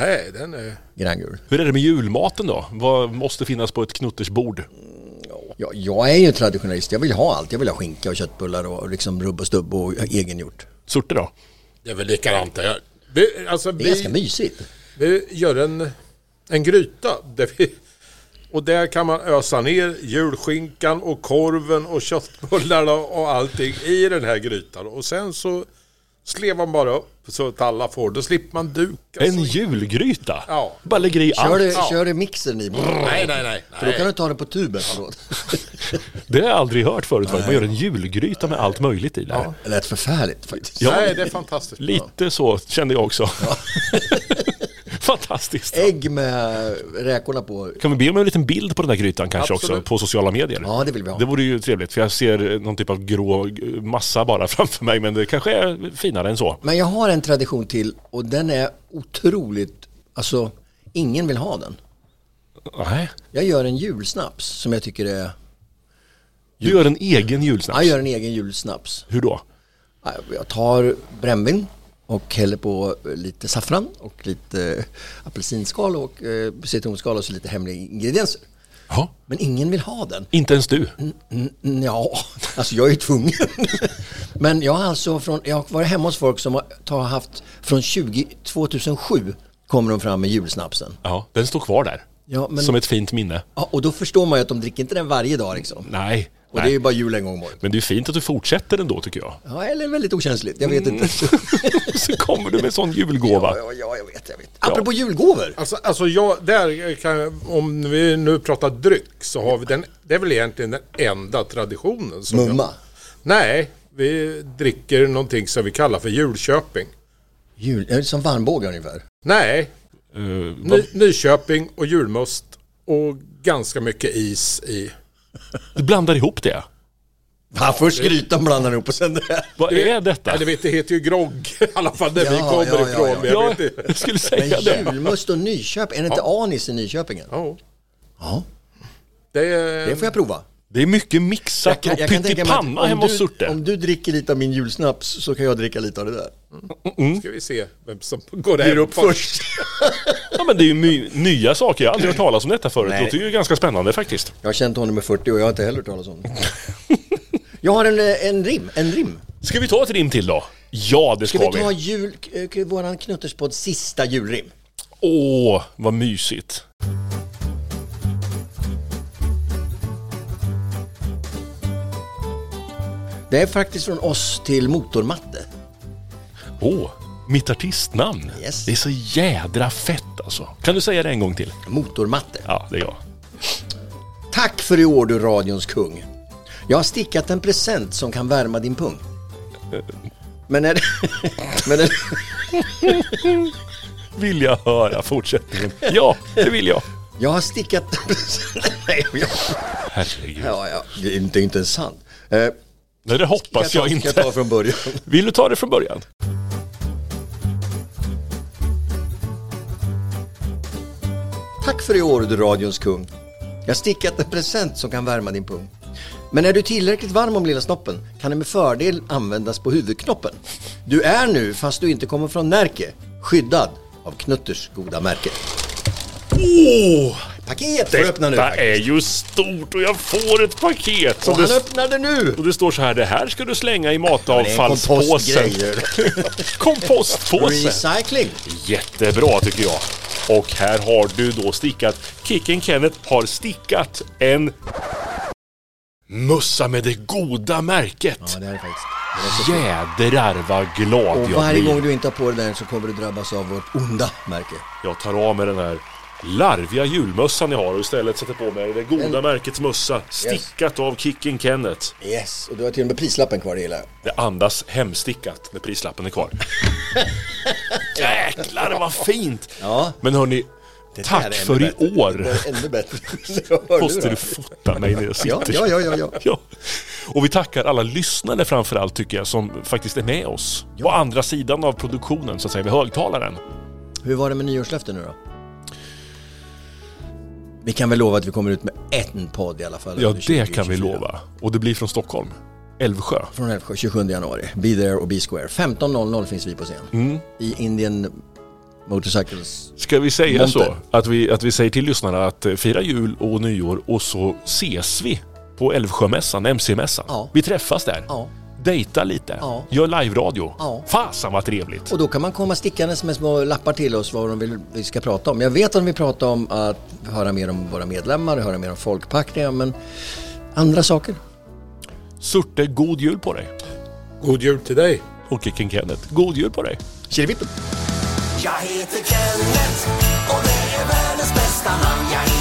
[SPEAKER 5] Nej, den är...
[SPEAKER 4] Grangul.
[SPEAKER 2] Hur är det med julmaten då? Vad måste finnas på ett knutters bord?
[SPEAKER 4] Ja, jag är ju traditionalist. Jag vill ha allt. Jag vill ha skinka och köttbullar och liksom rubb och stubb och egengjort.
[SPEAKER 2] Sorte då?
[SPEAKER 5] Det är väl likadant det här. Vi, alltså,
[SPEAKER 4] Det är
[SPEAKER 5] vi,
[SPEAKER 4] ganska mysigt.
[SPEAKER 5] Vi gör en, en gryta. Där vi, och där kan man ösa ner julskinkan och korven och köttbullarna och allting i den här grytan. Och sen så slevar man bara upp så att alla får. Då slipper man duka.
[SPEAKER 2] En julgryta?
[SPEAKER 5] Ja.
[SPEAKER 2] Bara lägger i
[SPEAKER 4] Kör
[SPEAKER 2] allt?
[SPEAKER 4] du, kör du mixern i?
[SPEAKER 5] Nej, nej, nej.
[SPEAKER 4] För då kan du ta det på tuben. Förlåt.
[SPEAKER 2] Det har jag aldrig hört förut. va? Man gör en julgryta med allt möjligt i där.
[SPEAKER 4] Det lät förfärligt faktiskt.
[SPEAKER 5] Nej, det är fantastiskt.
[SPEAKER 2] Lite så kände jag också. Fantastiskt.
[SPEAKER 4] Ägg med räkorna på.
[SPEAKER 2] Kan vi be om en liten bild på den där grytan kanske
[SPEAKER 4] Absolut.
[SPEAKER 2] också på sociala medier?
[SPEAKER 4] Ja, det vill vi ha.
[SPEAKER 2] Det vore ju trevligt för jag ser någon typ av grå eh, massa bara framför mig men det kanske är finare än så.
[SPEAKER 4] Men jag har en tradition till och den är otroligt, alltså ingen vill ha den.
[SPEAKER 2] Nej.
[SPEAKER 4] Jag gör en julsnaps som jag tycker är...
[SPEAKER 2] Du gör en egen julsnaps?
[SPEAKER 4] Jag gör en egen julsnaps.
[SPEAKER 2] Hur då?
[SPEAKER 4] Jag tar brännvin och häller på lite saffran och lite apelsinskal och eh, citronskal och så lite hemliga ingredienser.
[SPEAKER 2] Ja.
[SPEAKER 4] Men ingen vill ha den.
[SPEAKER 2] Inte ens du?
[SPEAKER 4] Mm, mm, Ja, alltså jag är ju tvungen. Men jag har alltså från, jag har varit hemma hos folk som har tar haft från 20, 2007 kommer de fram med julsnapsen.
[SPEAKER 2] Ja, den står kvar där.
[SPEAKER 4] Ja, men-
[SPEAKER 2] Som ett fint minne.
[SPEAKER 4] Ja, och då förstår man ju att de dricker inte den varje dag liksom.
[SPEAKER 2] Nej.
[SPEAKER 4] Och det är ju bara jul en gång om året.
[SPEAKER 2] Men det är fint att du fortsätter ändå tycker jag.
[SPEAKER 4] Ja, eller väldigt okänsligt. Jag vet
[SPEAKER 2] Mm.
[SPEAKER 4] inte.
[SPEAKER 2] Så kommer du med en sån julgåva.
[SPEAKER 4] Ja, ja, jag vet, jag vet. Apropå julgåvor.
[SPEAKER 5] Alltså, alltså jag, där kan, jag- om vi nu pratar dryck så har vi den, det är väl egentligen den enda traditionen. Som
[SPEAKER 4] Mumma.
[SPEAKER 5] Jag, nej, vi dricker någonting som vi kallar för julköping.
[SPEAKER 4] Jul, är det som varmbågar ungefär.
[SPEAKER 5] Eh, Nej,
[SPEAKER 2] Mm, vad-
[SPEAKER 5] Ny, Nyköping och julmust och ganska mycket is i.
[SPEAKER 2] Du blandar ihop det.
[SPEAKER 4] Ja, först grytan blandar ihop och sen det här.
[SPEAKER 2] Vad är detta?
[SPEAKER 5] Ja, du vet, det heter ju grogg i alla fall där vi
[SPEAKER 4] Ja,
[SPEAKER 5] kommer
[SPEAKER 4] ja, ja,
[SPEAKER 5] ifrån.
[SPEAKER 4] ja.
[SPEAKER 5] men Jag vet inte.
[SPEAKER 2] jag skulle säga
[SPEAKER 4] Men
[SPEAKER 2] det.
[SPEAKER 4] julmust och Nyköping, är det inte anis i Nyköping? än?
[SPEAKER 5] Ja,
[SPEAKER 4] Ja,
[SPEAKER 5] det är...
[SPEAKER 4] det får jag prova.
[SPEAKER 2] Det är mycket mixat och
[SPEAKER 4] tänka mig att
[SPEAKER 2] pyttipanna
[SPEAKER 4] om
[SPEAKER 2] hemma hos
[SPEAKER 4] du-
[SPEAKER 2] Surte.
[SPEAKER 4] Om du dricker lite av min julsnaps så kan jag dricka lite av det där.
[SPEAKER 5] Ska vi se vem som går
[SPEAKER 2] Ger
[SPEAKER 5] hem
[SPEAKER 2] Mm. upp först. Ja men det är ju my- nya saker, jag har aldrig hört talas om detta förut.
[SPEAKER 4] Nej.
[SPEAKER 2] Det är ju ganska spännande faktiskt.
[SPEAKER 4] Jag har känt honom i 40 och jag har inte heller hört talas om det. Jag har en, eh, en rim, en rim.
[SPEAKER 2] Ska vi ta ett rim till då? Ja det
[SPEAKER 4] Ska
[SPEAKER 2] ska,
[SPEAKER 4] vi ta jul, eh, våran knutterspodd sista julrim?
[SPEAKER 2] Åh, vad mysigt.
[SPEAKER 4] Det är faktiskt från oss till Motormatte.
[SPEAKER 2] Åh, mitt artistnamn.
[SPEAKER 4] Yes.
[SPEAKER 2] Det är så jädra fett alltså. Kan du säga det en gång till?
[SPEAKER 4] Motormatte.
[SPEAKER 2] Ja, det är jag.
[SPEAKER 4] Tack för i år du radions kung. Jag har stickat en present som kan värma din pung.
[SPEAKER 2] Eh.
[SPEAKER 4] Men är det... Men är det...
[SPEAKER 2] Vill jag höra fortsättningen? Ja, det vill jag.
[SPEAKER 4] Jag har stickat en present... Nej, jag...
[SPEAKER 2] Herregud.
[SPEAKER 4] Ja, ja. Det är inte, inte ens sant. Eh,
[SPEAKER 2] Nej, det hoppas
[SPEAKER 4] Ska jag
[SPEAKER 2] jag
[SPEAKER 4] ta-
[SPEAKER 2] inte.
[SPEAKER 4] ska jag ta från början?
[SPEAKER 2] Vill du ta det från början?
[SPEAKER 4] Tack för i år, du radions kung. Jag har stickat en present som kan värma din pung. Men är du tillräckligt varm om lilla snoppen kan den med fördel användas på huvudknoppen. Du är nu, fast du inte kommer från Närke, skyddad av Knutters goda märke.
[SPEAKER 2] Åh!
[SPEAKER 4] Paket får du öppna nu
[SPEAKER 2] Detta
[SPEAKER 4] faktiskt.
[SPEAKER 2] är ju stort och jag får ett paket.
[SPEAKER 4] Och han öppnar det nu!
[SPEAKER 2] Och det står så här, det här ska du slänga i
[SPEAKER 4] det är en
[SPEAKER 2] matavfallspåsen. Kompostpåse.
[SPEAKER 4] Recycling!
[SPEAKER 2] Jättebra tycker jag. Och här har du då stickat, Kicken Kenneth har stickat en mössa med det goda märket.
[SPEAKER 4] Ja, det är det faktiskt.
[SPEAKER 2] Jädrar vad glad
[SPEAKER 4] Och
[SPEAKER 2] jag
[SPEAKER 4] varje
[SPEAKER 2] blir.
[SPEAKER 4] gång du inte har på dig den så kommer du drabbas av vårt onda märke.
[SPEAKER 2] Jag tar av mig den här larviga julmössan jag har och istället sätter på mig det goda
[SPEAKER 4] En-
[SPEAKER 2] märkets mössa. Stickat av Kicken Kenneth.
[SPEAKER 4] Yes, och du har till och med prislappen kvar, det gillar jag.
[SPEAKER 2] Det andas hemstickat när prislappen är kvar. Jäklar vad fint!
[SPEAKER 4] Ja.
[SPEAKER 2] Men hörni,
[SPEAKER 4] Det där är
[SPEAKER 2] tack
[SPEAKER 4] ännu
[SPEAKER 2] för i
[SPEAKER 4] bättre.
[SPEAKER 2] år!
[SPEAKER 4] Det är ännu bättre. Jag hör
[SPEAKER 2] Måste
[SPEAKER 4] nu
[SPEAKER 2] du
[SPEAKER 4] då.
[SPEAKER 2] fota mig när jag sitter?
[SPEAKER 4] Ja, ja, ja, ja, ja.
[SPEAKER 2] Och vi tackar alla lyssnare framförallt tycker jag som faktiskt är med oss. På andra sidan av produktionen så att säga, vid högtalaren.
[SPEAKER 4] Hur var det med nyårslöften nu då? Vi kan väl lova att vi kommer ut med en podd i alla fall.
[SPEAKER 2] Ja,
[SPEAKER 4] under
[SPEAKER 2] det kan vi
[SPEAKER 4] 2024.
[SPEAKER 2] lova. Och det blir från Stockholm. Älvsjö.
[SPEAKER 4] Från Älvsjö, 27 januari. Be there och be square. 15.00 finns vi på scen. I Indian Motorcycles.
[SPEAKER 2] Mm. Ska vi säga
[SPEAKER 4] Monter.
[SPEAKER 2] så? Att vi, att vi säger till lyssnarna att eh, fira jul och nyår och så ses vi på Älvsjömässan, MC-mässan.
[SPEAKER 4] Ja.
[SPEAKER 2] Vi träffas där.
[SPEAKER 4] Ja.
[SPEAKER 2] Dejta lite.
[SPEAKER 4] Ja.
[SPEAKER 2] Gör live-radio.
[SPEAKER 4] Ja.
[SPEAKER 2] Fasen vad trevligt!
[SPEAKER 4] Och då kan man komma stickandes med små lappar till oss vad de vill vi ska prata om. Jag vet att vi pratar om att höra mer om våra medlemmar, höra mer om folkpackningar, men andra saker.
[SPEAKER 2] Surte, god jul på dig!
[SPEAKER 5] God jul till dig!
[SPEAKER 2] Och Kicken Kenneth, god jul på dig!
[SPEAKER 4] Kirivippen!
[SPEAKER 3] Jag heter Kenneth och det är världens bästa namn. Jag